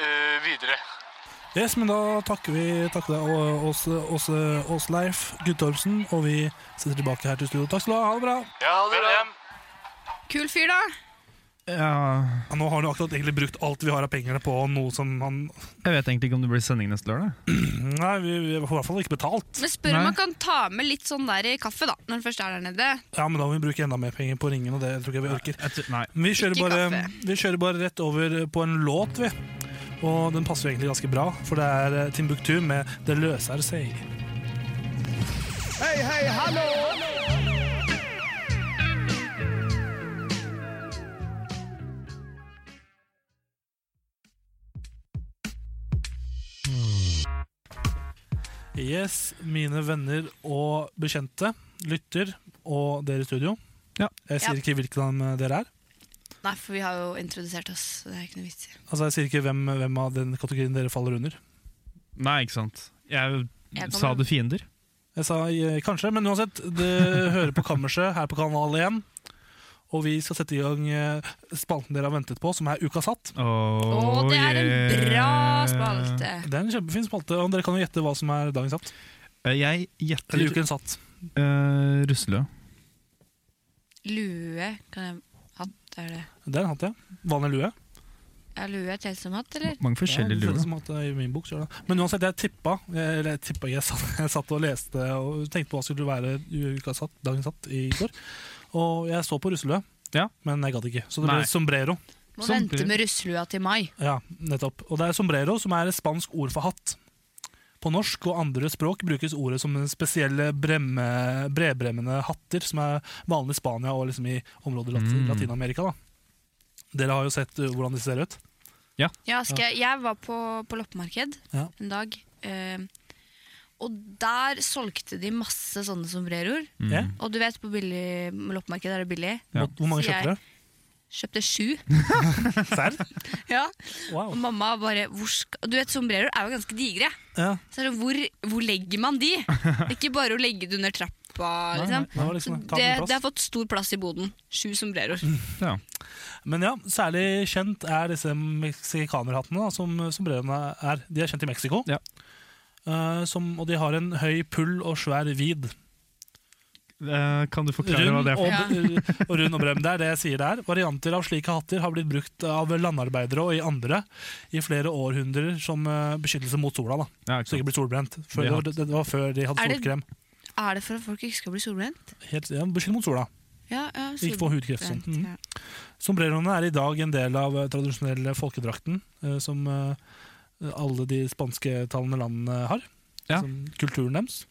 H: eh, videre.
B: Yes, men da takker vi takker deg, Å- Åse, Åse, Åsleif Guttormsen, og vi sitter tilbake her til studio. Takk skal du ha. Ha det bra.
H: Ja, ha det bra.
E: Kul fyr, da.
B: Ja, Nå har han jo akkurat egentlig brukt alt vi har av pengene på noe som han
C: Jeg vet egentlig ikke om det blir sending neste lørdag.
B: Nei, vi, vi får i hvert fall ikke betalt.
E: Men spør om man kan ta med litt sånn der i kaffe, da, når den først er der nede.
B: Ja, men da må vi bruke enda mer penger på ringen, og det tror ikke jeg vi orker. Men vi kjører,
E: Ikke
B: bare,
E: kaffe.
B: vi kjører bare rett over på en låt, vi. Og den passer jo egentlig ganske bra, for det er eh, Timbuktu med 'Det løser seg'.
A: Hei, hei, hallo!
B: Yes, mine venner og bekjente, lytter og dere i studio. Jeg sier
E: Ja.
B: ikke hvilken av eh, dere er.
E: Nei, for vi har jo introdusert oss. så Det er ikke noe vits i.
B: Altså, jeg sier ikke hvem, hvem av den kategorien dere faller under.
C: Nei, ikke sant. Jeg,
E: Jeg
C: sa
E: kommer-
C: det fiender.
B: Jeg sa eh, kanskje, men uansett, det hører på Kammerset her på Kanal 1. Og vi skal sette i gang eh, spalten dere har ventet på, som er Uka satt.
C: Åh, det er en yeah. bra spalte.
B: Det er en kjempefin spalte, og dere kan jo gjette hva som er dagen satt.
C: Jeg gjetter
B: Eller uken satt.
C: Uh, Russelø.
E: Lue kan jeg Hatt, er det
B: Det er en hatt, ja. Vanlig lue.
E: Er lue et helsemat, eller?
C: Mange forskjellige
B: Ja, det føles
C: luer.
B: som at det er sånn- i min bok, så er det. Men uansett, jeg tippa Eller jeg tippa ikke, jeg satt, jeg satt og leste og tenkte på hva skulle være uka satt, dagen satt i går. Og jeg så på russelue, men jeg gadd ikke. Så det
E: Nei.
B: ble sombrero.
E: Må vente med russelua til mai.
B: Ja, nettopp. Og det er sombrero, som er et spansk ord for hatt. På norsk og andre språk brukes ordet som den spesielle bremme, bredbremmende hatter, som er vanlig i Spania og liksom i områder i Lat
C: Mm.
B: Latin-Amerika. da. Dere har jo sett uh, hvordan de ser ut.
E: Ja, Aske, jeg var på, på loppemarked
B: Ja.
E: en dag, eh, og der solgte de masse sånne sombreroer.
B: Mm. Ja.
E: Og du vet, på billig, loppemarked er det billig.
B: Hvor- Hvor mange
E: Så jeg
B: kjøpte dere?
E: Kjøpte sju.
B: Serr?
E: ja.
B: Wow.
E: Og mamma bare hvor skal, og Du vet, sombreroer er jo ganske digre.
B: Ja.
E: Så er det, hvor, hvor legger man de? Det er Ikke bare å legge det under trappa.
B: Nei,
E: Liksom.
B: nei, det var liksom-
E: Så
B: ta
E: det,
B: den plass. Mm.
E: det har fått stor plass i boden. Sju sombreroer.
B: Men ja, særlig kjent er disse meksikanerhattene da, som sombreroene er. De er kjent i Mexico. Eh, som, og de har en høy pull og svær vid.
C: Eh, kan du forklare hva
B: Rund
C: det
B: og,
C: er for noe?
B: og rund og brem, det er det jeg sier der. Varianter av slike hatter har blitt brukt av landarbeidere og i andre i flere århundrer som eh, beskyttelse mot sola. Da. så ikke blir solbrent. Før,
C: De
B: det,
C: har-
B: var, det var før de hadde
E: Er det-
B: solkrem.
E: Er det for at folk ikke skal bli solbrent?
B: Helt, ja, beskyttet mot sola.
E: Ja, ja,
B: Ikke få hudkreft. Sånn.
E: solbrent,
B: Mhm.
E: ja.
B: Sombreroene er i dag en del av eh, tradisjonelle folkedrakten eh, som eh, alle de spansktalende landene har. Som kulturen deres.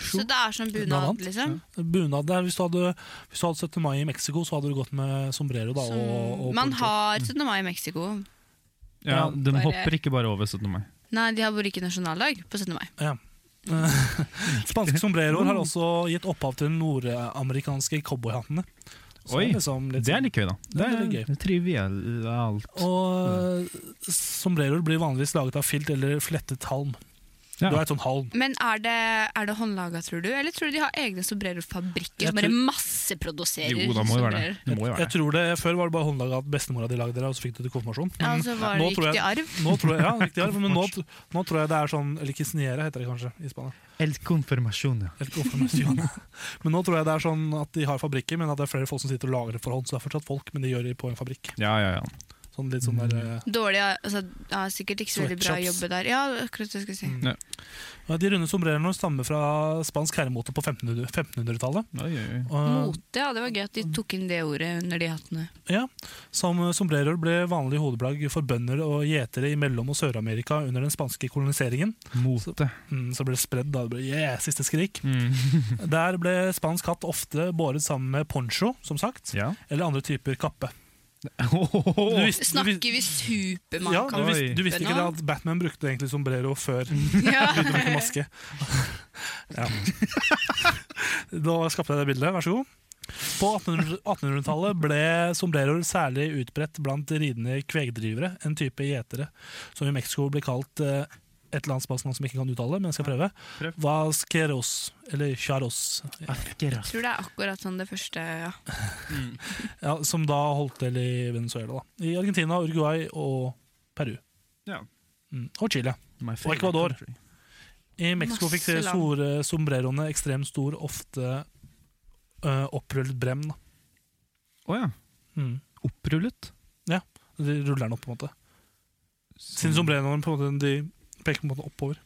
E: Så det er sånn
B: Blant
E: bunad,
B: annet.
E: liksom?
B: Ja. Bunad der, hvis, du hadde, hvis du hadde 17. mai i Mexico, så hadde du gått med sombrero da,
E: Som
B: og, og
E: man
B: poncho.
E: har 17. mai i Mexico.
C: Ja, de
E: Bare-
C: hopper ikke bare over 17. mai.
E: Nei, de har bare ikke nasjonaldag på 17. mai.
B: Ja.
C: Mhm.
B: Spanske sombreroer har også gitt opphav til de nordamerikanske cowboyhattene. Så
C: Oi,
B: det er liksom litt
C: det er
B: sånn-
C: litt gøy, da. Det
B: er
C: er,
B: litt gøy.
C: trivialt.
B: Og eh, sombreroer blir vanligvis laget av filt eller flettet halm. Du har et sånn halm.
E: Men er det, er det håndlaga, tror du? Eller tror du de har egne
B: Jeg
E: sobrererfabrikker som bare
B: tror-
E: masseproduserer? sombrerer?
B: Jeg tror det, Før var det bare håndlaget at bestemora di lagde det, og så fikk du det til konfirmasjon.
E: Ja, altså. og så var det
B: nå tror jeg-
E: riktig arv.
B: Nå tror jeg, ja, riktig arv, men nå, nå tror jeg det er sånn Eller quisiniere heter det kanskje i Spania.
C: El confirmasjon, ja.
B: Helt konfirmasjon. men nå tror jeg det er sånn at de har fabrikker, men at det er flere folk som sitter og lager det for hånd. Så det er fortsatt folk, men de gjør det på en fabrikk.
C: Ja, ja, ja.
B: Sånn litt sånn
C: Mm.
B: der, eh,
E: Dårlig, altså, ja, sikkert ikke så veldig bra
B: Sweatshops.
E: jobbe der. Ja, akkurat det jeg skulle si.
B: Ja, De runde sombrerene stammer fra spansk herremote på 1500 1500-tallet. Og-
E: Mote, ja, det var gøy at de tok inn det ordet under de hattene.
B: Ja, Som sombreroer ble vanlig hodeplagg for bønder og gjetere i Mellom- og Sør-Amerika under den spanske koloniseringen.
C: Mote. Så,
B: mm, så ble det spredd, da det ble yeah, siste skrik.
C: Mm.
B: Der ble spansk hatt ofte båret sammen med poncho, som sagt,
C: Ja.
B: eller andre typer kappe. Du visste- du vis-
E: Snakker vi supermann
B: ja, du, visste, du visste ikke det at Batman brukte egentlig sombrero før
E: Ja.
B: begynte å bruke maske. Ja. Da skapte jeg det bildet, vær så god. På 1800 1800-tallet ble sombreroer særlig utbredt blant ridende kvegdrivere, en type gjetere som i Mexico blir kalt eh, et eller annet spansk navn som jeg ikke kan uttale, men jeg skal prøve. Vasqueros, eller charos.
E: Jeg tror det er akkurat sånn det første, ja.
B: Ja, som da holdt til i Venezuela. Da. I Argentina, Uruguay og Peru.
C: Ja.
B: Mm. Og Chile.
C: My
B: Og
C: favorite
B: Ecuador. I Mexico fikk
C: Masse
B: de
C: land.
B: store sombreroene ekstremt stor, ofte uh, opprullet brem. da.
C: Å ja.
B: Mm.
C: Opprullet?
B: Ja, de ruller den opp på en måte.
A: Mm.
B: Siden sombreroene på en måte, de peker på en måte oppover.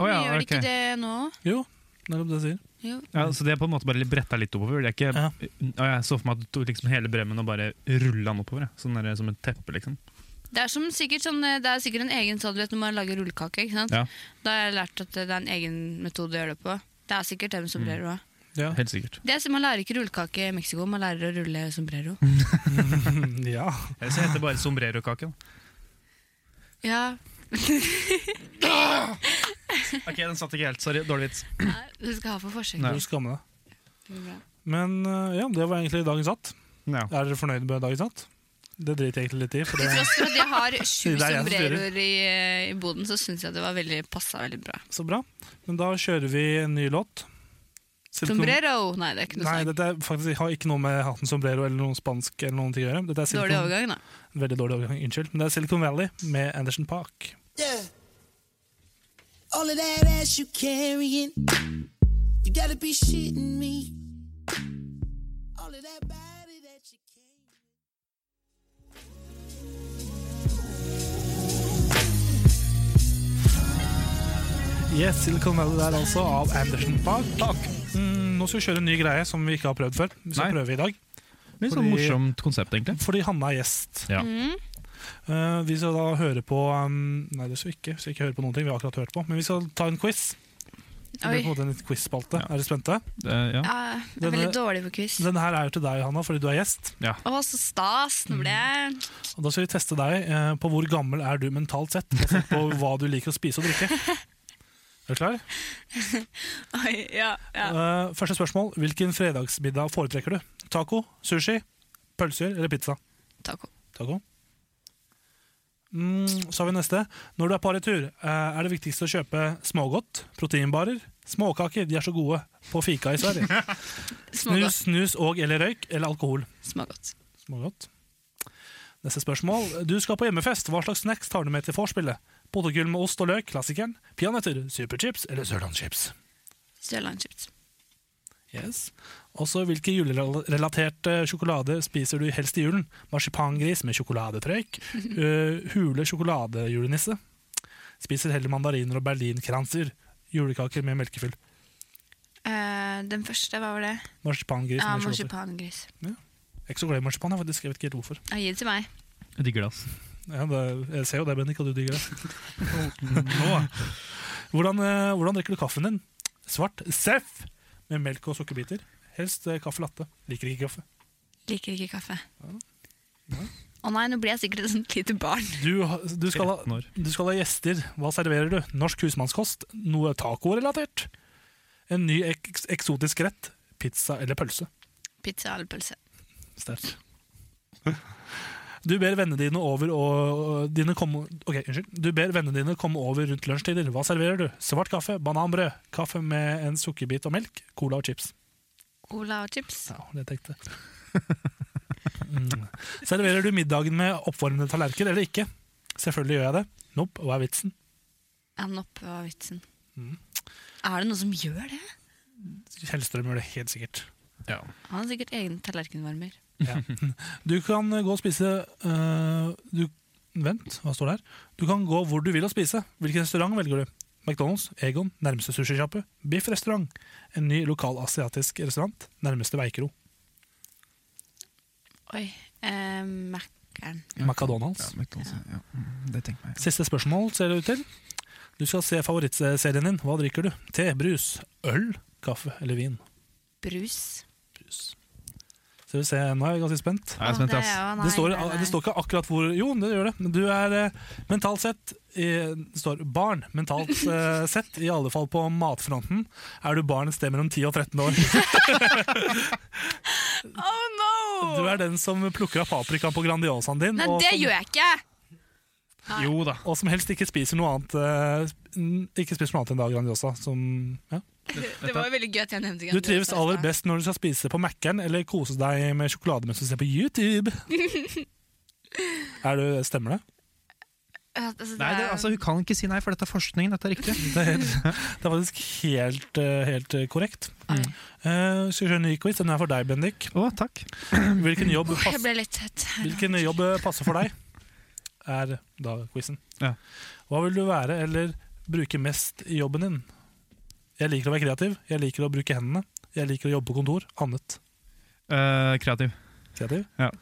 C: Å ja,
E: Gjør de
C: ok.
E: ikke det nå?
B: Jo, nettopp det jeg sier.
E: Jo.
C: Ja, så det er på en måte bare litt bretta litt oppover? Det er ikke, ja. Jeg så for meg at du tok liksom hele bremmen og bare rulla den oppover. ja. Sånn der, som et teppe, liksom.
E: Det er, som sikkert sånn, eh, det er sikkert en egen sånn, du vet når man lager rullekake, ikke sant?
C: Ja.
E: Da har jeg lært at det er en egen metode å gjøre det på. Det er sikkert det
B: Mm.
E: med sombrero også.
C: Helt sikkert.
E: Det er, som- man lærer ikke rullekake i Mexico, man lærer å rulle sombrero.
B: Mm. ja.
C: Jeg ser heter bare sombrerokake. da.
E: Ja,
C: Ok, den satt ikke helt. Sorry, dårlig vits.
E: du skal ha for forsøk.
B: Du skammer deg. Men eh, ja, det var egentlig dagens hatt. Er dere fornøyd med dagens hatt? Det driter jeg egentlig litt i. For
E: Til
B: det,
E: tross for at jeg har
B: Det
E: sju
B: er jeg som styrer.
E: sombreroer i, eh, i boden, så syns jeg det var veldig, passa veldig bra.
B: Så bra. Men da kjører vi en ny låt. Silicon-
E: Sombrero! Nei, det er ikke noe
B: Nei,
E: snakk.
B: dette er faktisk, har ikke noe med hatten sombrero eller noe spansk eller noen ting å gjøre. Dette er Silicon-
E: Dårlig overgang, da.
B: Veldig dårlig overgang, unnskyld. Men det er Silicon Valley med Anderson Park.
M: Yeah. All of that ass you carrying, you gotta be shitting me. All of that body that you
B: Yes, Silicon Valley der altså, av Anderson Park. Mm, nå skal vi kjøre en ny greie som vi ikke har prøvd før. Vi skal
C: Nei.
B: prøve i dag.
C: Litt sånn morsomt konsept, egentlig.
B: Fordi Hanna er gjest.
C: Ja.
E: Mm.
B: Eh, vi skal da høre på um, Nei, det skal vi ikke. Vi skal ikke høre på noen ting vi har akkurat hørt på. Men vi skal ta en quiz. Det blir
E: Oi.
B: på en måte en litt quiz-spalte. Er dere spente?
C: ja.
E: Ja, jeg er veldig dårlig på quiz.
B: Denne her er jo til deg, Hanna, fordi du er gjest.
E: Å, så stas! Nå ble jeg
B: Og da skal vi teste deg eh, på hvor gammel er du mentalt sett, basert på hva du liker å spise og drikke. Er du klar?
E: Oi, ja, ja.
B: Eh, første spørsmål. Hvilken fredagsmiddag foretrekker du? Taco, sushi, pølser eller pizza?
E: Taco.
B: Taco. Mm, så har vi neste. Når du er på retur, eh, er det viktigst å kjøpe smågodt, proteinbarer, småkaker, de er så gode, på fika i Sverige.
E: Smågodt.
B: snus, snus og eller røyk, eller alkohol.
E: Smågodt.
B: Smågodt. Neste spørsmål. Du skal på hjemmefest, hva slags snacks tar du med til vorspielet? Potetgull med ost og løk, klassikeren, peanøtter, superchips eller sørlandschips?
E: Sørlandschips.
B: Yes. Også hvilke julerelaterte sjokolader spiser du helst i julen? Marsipangris med sjokoladetrøyk, eh, hule sjokoladejulenisse. Spiser heller mandariner og berlinkranser. Julekaker med melkefyll.
E: Eh, den første, hva var det?
B: Marsipangris
E: Ja,
B: med sjokolade.
E: marsipangris.
B: Jeg er ikke så glad i marsipan, jeg, faktisk. Jeg vet ikke helt hvorfor.
E: Ja, Gi det til meg.
C: Jeg digger det, ass.
B: Ja, det, jeg ser jo det, Bendik, og du digger det. Nå. Hvordan, eh, hvordan drikker du kaffen din? Svart seff med melk og sukkerbiter. Helst eh, kaffe latte. Liker ikke kaffe.
E: Liker ikke kaffe. Å nei, nå blir jeg sikkert et sånt lite barn.
B: Du, ha- du, skal ha, du skal ha gjester. Hva serverer du? Norsk husmannskost? Noe tacorelatert? En ny eks eksotisk rett? Pizza eller pølse?
E: Pizza eller pølse.
B: Sterkt. Du ber vennene dine over og, og dine komme, Ok, unnskyld. Du ber vennene dine komme over rundt lunsjtider. Hva serverer du? Svart kaffe, bananbrød, kaffe med en sukkerbit og melk, cola og chips.
E: Cola og chips.
B: Ja, det tenkte jeg. Mm. Serverer du middagen med oppvarmede tallerkener eller ikke? Selvfølgelig gjør jeg det. Nope, hva er vitsen?
E: Han oppe var vitsen.
B: Mm.
E: Er det noen som gjør det?
B: Hellstrøm gjør det helt sikkert. Ja.
E: Han har sikkert egen tallerkenvarmer.
B: Du kan gå og spise øh, du, Vent, hva står det her? Du kan gå hvor du vil og spise. Hvilken restaurant velger du? McDonald's, Egon, nærmeste sushisjappe, Biff restaurant, en ny lokal asiatisk restaurant, nærmeste veikro.
E: Oi. Eh, Mækkern.
B: McDonald's. Siste spørsmål ser det ut til. Du skal se favorittserien din. Hva drikker du? Te, brus, øl, kaffe eller vin?
E: Brus.
B: Skal vi se, Nå er jeg ganske spent.
E: Ja, jeg er spent, ass. Ja, det er jo- nei,
B: det, står,
E: nei, nei.
B: det står ikke akkurat hvor Jo, det gjør det. Men du er eh, mentalt sett i, Det står barn mentalt eh, sett, i alle fall på matfronten. Er du barn et sted mellom 10 og 13 år?
E: Oh no!
B: Du er den som plukker av paprikaen på Grandiosaen din.
E: Nei,
B: og
E: det
B: som,
E: gjør jeg ikke!
B: Jo da. Og som helst ikke spiser noe annet eh, n- Ikke spiser noe annet enn da Grandiosa. Som, ja.
E: Det var jo veldig gøy at jeg nevnte
B: Du trives aller best når du skal spise på Mækkern eller kose deg med sjokolade mens du ser på YouTube. Er du, stemmer det?
C: Nei, det, altså, hun kan ikke si nei, for dette er forskning. Dette er riktig.
B: Det er, helt, det er faktisk helt, eh, helt eh, korrekt. Eh, skal vi kjøre en ny quiz? Den er for deg, Bendik.
C: Å, takk.
B: Hvilken jobb,
E: Åh, Jeg
B: pass,
E: ble litt tett.
B: hvilken jobb eh, passer for deg? Er da quizen. Hva vil du være eller bruke mest i jobben din? Jeg liker å være kreativ. Jeg liker å bruke hendene. Jeg liker å jobbe på kontor. Annet.
C: Eh, kreativ.
B: Kreativ?
C: Ja.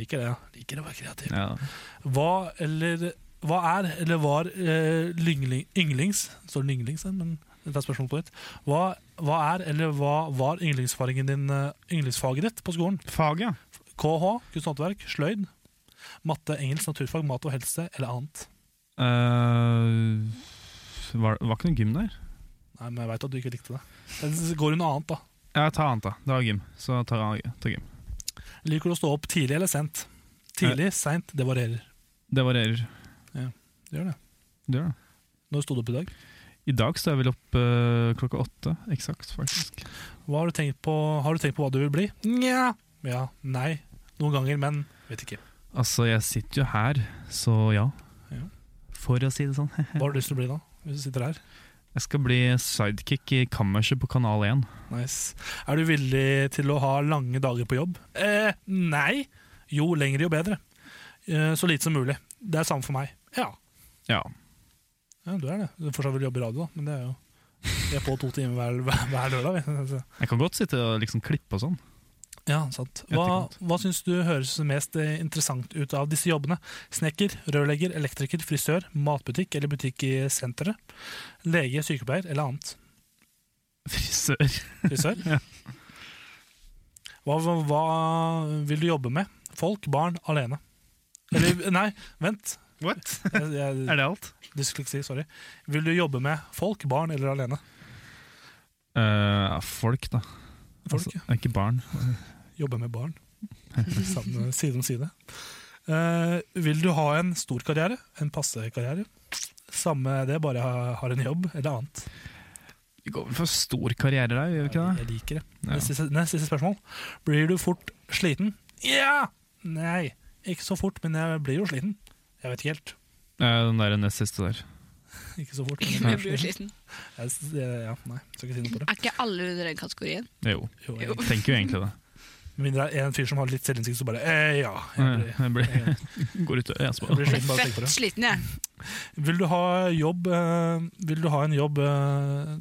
B: Liker det, ja. Liker å være kreativ.
C: Ja.
B: Hva, eller, hva er, eller var, eh, lyngling, ynglings Står det ynglings her, men dette er spørsmålet på ditt. Hva, hva er, eller hva var yndlingsfaringen din, eh, yndlingsfaget ditt på skolen?
C: Faget?
B: KH, kunst og håndverk, sløyd, matte, engelsk, naturfag, mat og helse, eller annet.
C: Eh, var, var ikke noe gym der?
B: Nei, men jeg veit at du ikke likte det. Det går under annet, da.
C: Ja, ta annet, da. Det var gym. Så ta, ta gym.
B: Liker du å stå opp tidlig eller sent? Tidlig, seint, det varierer.
C: Det varierer.
B: Ja, det gjør det.
C: Det gjør det.
B: Når sto du opp i dag?
C: I dag står jeg vel opp eh, klokka åtte, eksakt, faktisk.
B: Hva har du tenkt på? Har du tenkt på hva du vil bli? Nja. Ja, nei. Noen ganger, men vet ikke.
C: Altså, jeg sitter jo her, så ja. For å si det sånn.
B: Hva har du lyst til å bli da, hvis du sitter her?
C: Jeg skal bli sidekick i kammerset på Kanal 1.
B: Nice. Er du villig til å ha lange dager på jobb? Eh, nei. Jo lengre, jo bedre. Eh, så lite som mulig. Det er samme for meg. Ja.
C: Ja.
B: ja du er det. Du fortsatt vil jobbe i radio, da, men det er jo Vi er på to timer hver, hver, hver lørdag. vi. Så-
C: Jeg kan godt sitte og liksom klippe og sånn.
B: Ja, sant. Hva, hva syns du høres mest eh, interessant ut av disse jobbene? Snekker, rørlegger, elektriker, frisør, matbutikk eller butikk i senteret? Lege, sykepleier eller annet?
C: Frisør.
B: Frisør? hva, hva, hva vil du jobbe med? Folk, barn, alene. Eller, nei, vent.
C: What?
B: er
C: det alt?
B: Dysleksi, sorry. Vil du jobbe med folk, barn eller alene?
C: Eh, folk, da.
B: Folk,
C: altså, Ikke barn.
B: Jobbe med barn. Sammen, side om side. Eh, vil du ha en stor karriere? En passe karriere? Samme det, bare ha, har en jobb eller annet.
C: Vi går vel for stor karriere der, gjør vi ikke det?
B: Jeg liker det.
C: Ja.
B: Neste, neste siste spørsmål. Blir du fort sliten? Ja! Nei, ikke så fort, men jeg blir jo sliten. Jeg vet ikke helt.
C: Eh, den der nest siste der.
B: Ikke så fort.
E: Men jeg blir jo sliten.
B: Jeg s- jeg- ja, nei, skal ikke si noe på det.
E: Er ikke alle under den kategorien?
C: Jo.
B: Jo,
C: jeg tenker jo egentlig det.
B: Med mindre det er en fyr som har litt selvinnsikt, så bare eh, ja.
C: Mm, Jeg, blir, går ut og jeg
B: Jeg blir
C: spør.
B: sliten bare av å tenke på
E: Fett
B: det.
E: sliten, jeg.
B: Vil du ha jobb eh, Vil du ha en jobb eh,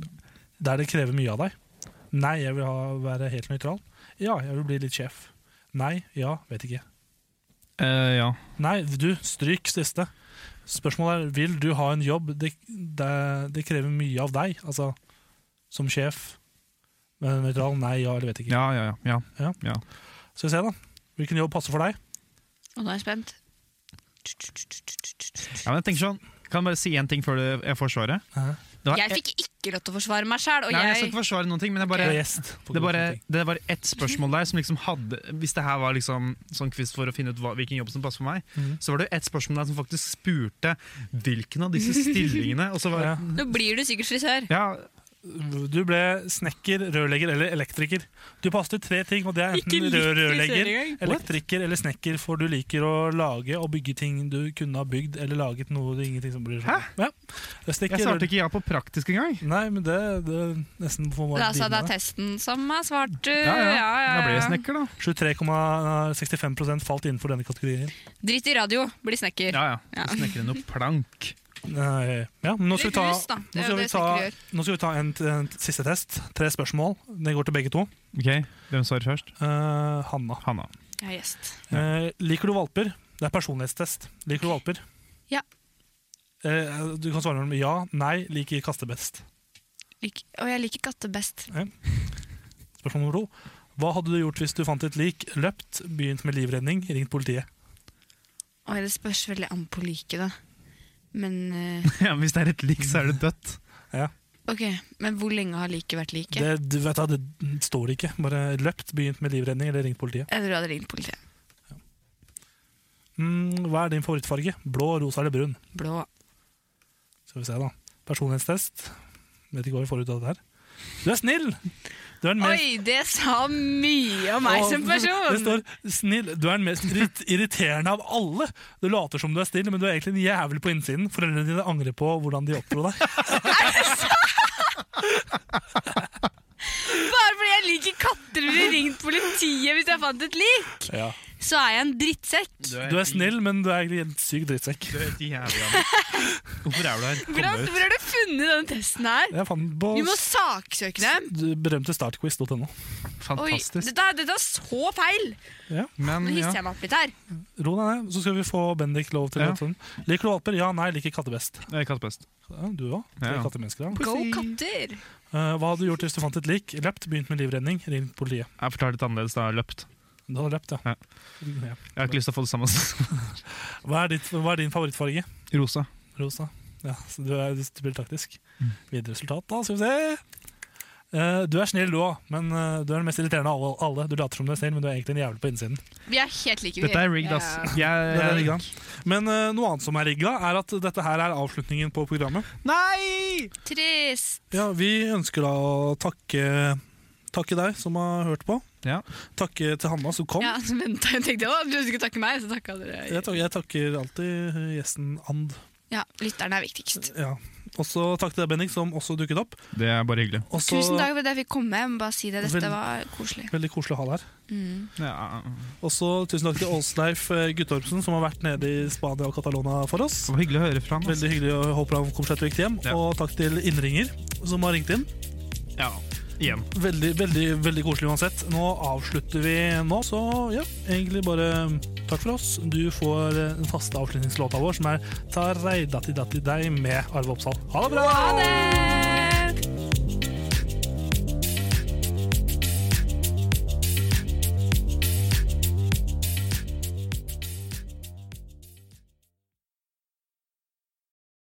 B: der det krever mye av deg? Nei, jeg vil ha, være helt nøytral. Ja, jeg vil bli litt sjef. Nei, ja, vet ikke.
C: Eh, ja.
B: Nei, du, stryk siste. Spørsmålet er vil du ha en jobb det, det, det krever mye av deg, altså som sjef. Men nøytral, nei, ja eller vet ikke.
C: Ja, ja, ja.
B: Ja.
C: ja.
B: Skal vi se, da. Hvilken jobb passer for deg?
E: Og nå er jeg spent.
C: ja men jeg tenker sånn, kan jeg bare si én ting før du- jeg får svaret?
B: Hæ?
C: Det var et-
E: Jeg fikk ikke lov til å forsvare meg sjæl, og
C: Nei, jeg skal
E: jeg
C: ikke forsvare noen ting, men jeg bare,
E: Du er gjest på
C: det,
E: grunn av
C: bare,
E: sånne
C: det var ett spørsmål der som liksom hadde Hvis det her var liksom sånn quiz for å finne ut hva, hvilken jobb som passer for meg,
E: Mhm.
C: så var det jo ett spørsmål der som faktisk spurte hvilken av disse stillingene. Og så var,
E: Nå blir du sikkert frisør.
B: Du ble snekker, rørlegger eller elektriker. Du passet til tre ting, og det er
E: Ikke
B: enten
E: litt
B: rør,
E: frisør
B: rørlegger,
E: engang.
B: elektriker eller snekker, for du liker å lage og bygge ting du kunne ha bygd, eller laget noe du ingenting som blir sånn. Hæ? Ja. Snekker,
C: Jeg svarte
B: rør-
C: ikke ja på praktisk engang.
B: Nei, men det, det er nesten for
E: Det er altså det er testen som har svart. Du. Ja, ja, ja.
B: 23,65 falt innenfor denne kategorien.
E: Drit i radio, bli snekker.
C: Ja,
E: ja.
C: Snekker noe plank.
B: Nei, ja, men nå skal vi ta,
E: Eller hus, da. Det
B: nå skal
E: er jo
B: vi
E: det
B: ta,
E: snekkere gjør.
B: nå skal vi ta en, en siste test. Tre spørsmål. Den går til begge to. Eh,
C: Ok, Hvem svarer først?
B: Hanna.
E: Jeg er gjest.
B: Eh, liker du valper? Det er personlighetstest. Liker du valper?
E: Ja.
B: Eh, du kan svare mellom ja, nei, liker kaste best.
E: Lik, og jeg liker katter best.
B: Ja. Spørsmål nummer to. Hva hadde du gjort hvis du fant et lik, løpt, begynt med livredning, ringt politiet?
E: Og det spørs veldig an på liket, da. Men eh,
C: ja, men Hvis det er et lik, så er det dødt.
B: Ja.
E: ok, men hvor lenge har liket vært like?
B: Det, du vet, da, det står ikke. Bare løpt, begynt med livredning eller ringt politiet.
E: Jeg tror jeg hadde ringt politiet.
B: Mm, hva er din favorittfarge? Blå, rosa eller brun?
E: Blå.
B: Skal vi se, da. Personlighetstest. Vet ikke hva vi får ut av det her. Du er snill! Du er den mest-
E: Oi, det sa mye om meg
B: Å,
E: som
B: Det
E: person!
B: står snill. Du er den mest irrit- irriterende av alle. Du later som du er snill, men du er egentlig en jævel på innsiden. Foreldrene dine angrer på hvordan de oppdro deg.
E: Bare fordi jeg liker katter, ville jeg ringt politiet hvis jeg fant et lik!
B: Ja.
E: Så er jeg en drittsekk.
B: Du er snill, men du er egentlig en syk drittsekk.
C: Hvorfor er du her?
E: Hvordan hvor har du funnet denne testen her?
B: Jeg fant den på
E: Vi må saksøke dem!
B: s- berømte startquiz.no.
E: Oi, dette, er- dette er så feil!
B: Mm, Ja.
E: Nå hisser jeg meg opp litt her.
B: Ro deg ned, så skal vi få Bendik lov til
C: Ja.
B: å ta den. Liker du valper? Ja, nei, liker katter best.
C: Jeg er kattepest.
B: Ja, du òg? Tre
C: Ja, ja.
B: kattemennesker. da.
E: Go katter!
B: Eh, hva hadde du gjort hvis du fant et lik? Løpt, begynt med livredning, ringt politiet.
C: Jeg fortalte det annerledes da jeg har løpt.
B: Du hadde løpt, ja. Ja.
C: Jeg har ikke lyst til å få det samme.
B: Hva, er ditt, hva er din favorittfarge?
C: Rosa.
B: Rosa. Ja, så du, er, du spiller taktisk. Videre resultat, da, skal vi se. Eh, du er snill, du òg, men eh, du er den mest irriterende av alle- alle. Du later som du er snill, men du er egentlig en jævel på innsiden.
E: Vi er helt like. vi.
B: Dette er rigged, ass.
E: Ja.
C: Jeg,
B: Det er rigga. Men eh, noe annet som er rigga, er at dette her er avslutningen på programmet.
C: Nei!
E: Trist.
B: Ja, Vi ønsker da å takke, takke deg som har hørt på. Takke til Hanna som kom.
E: Ja, så venta jeg og tenkte å, du skulle takke meg, så takka dere.
B: Jeg, takker, jeg takker alltid eh, gjesten And.
E: Ja, lytteren er viktigst.
B: Ja. Også takk til deg, Bendik, som også dukket opp.
C: Det er bare hyggelig.
B: Også,
E: Tusen takk for at jeg fikk komme. Jeg må bare si det.
B: Vel-
E: Dette var koselig.
B: Veldig koselig å ha deg her.
E: Mm.
C: Ja.
B: Og så tusen takk til Åsleif eh, Guttormsen, som har vært nede i Spania og Catalona for oss.
C: Det var hyggelig å høre fra
B: Veldig hyggelig, og jeg håper han kommer seg trygt hjem. Og takk til innringer som har ringt inn.
C: Ja, igjen.
B: Veldig, veldig, veldig koselig uansett. Nå avslutter vi nå, så ja, egentlig bare mm, takk for oss. Du får eh, den faste avslutningslåta vår, som er Ta reidati dati dei med Arve Oppsal. Ha det bra!
E: Ha det!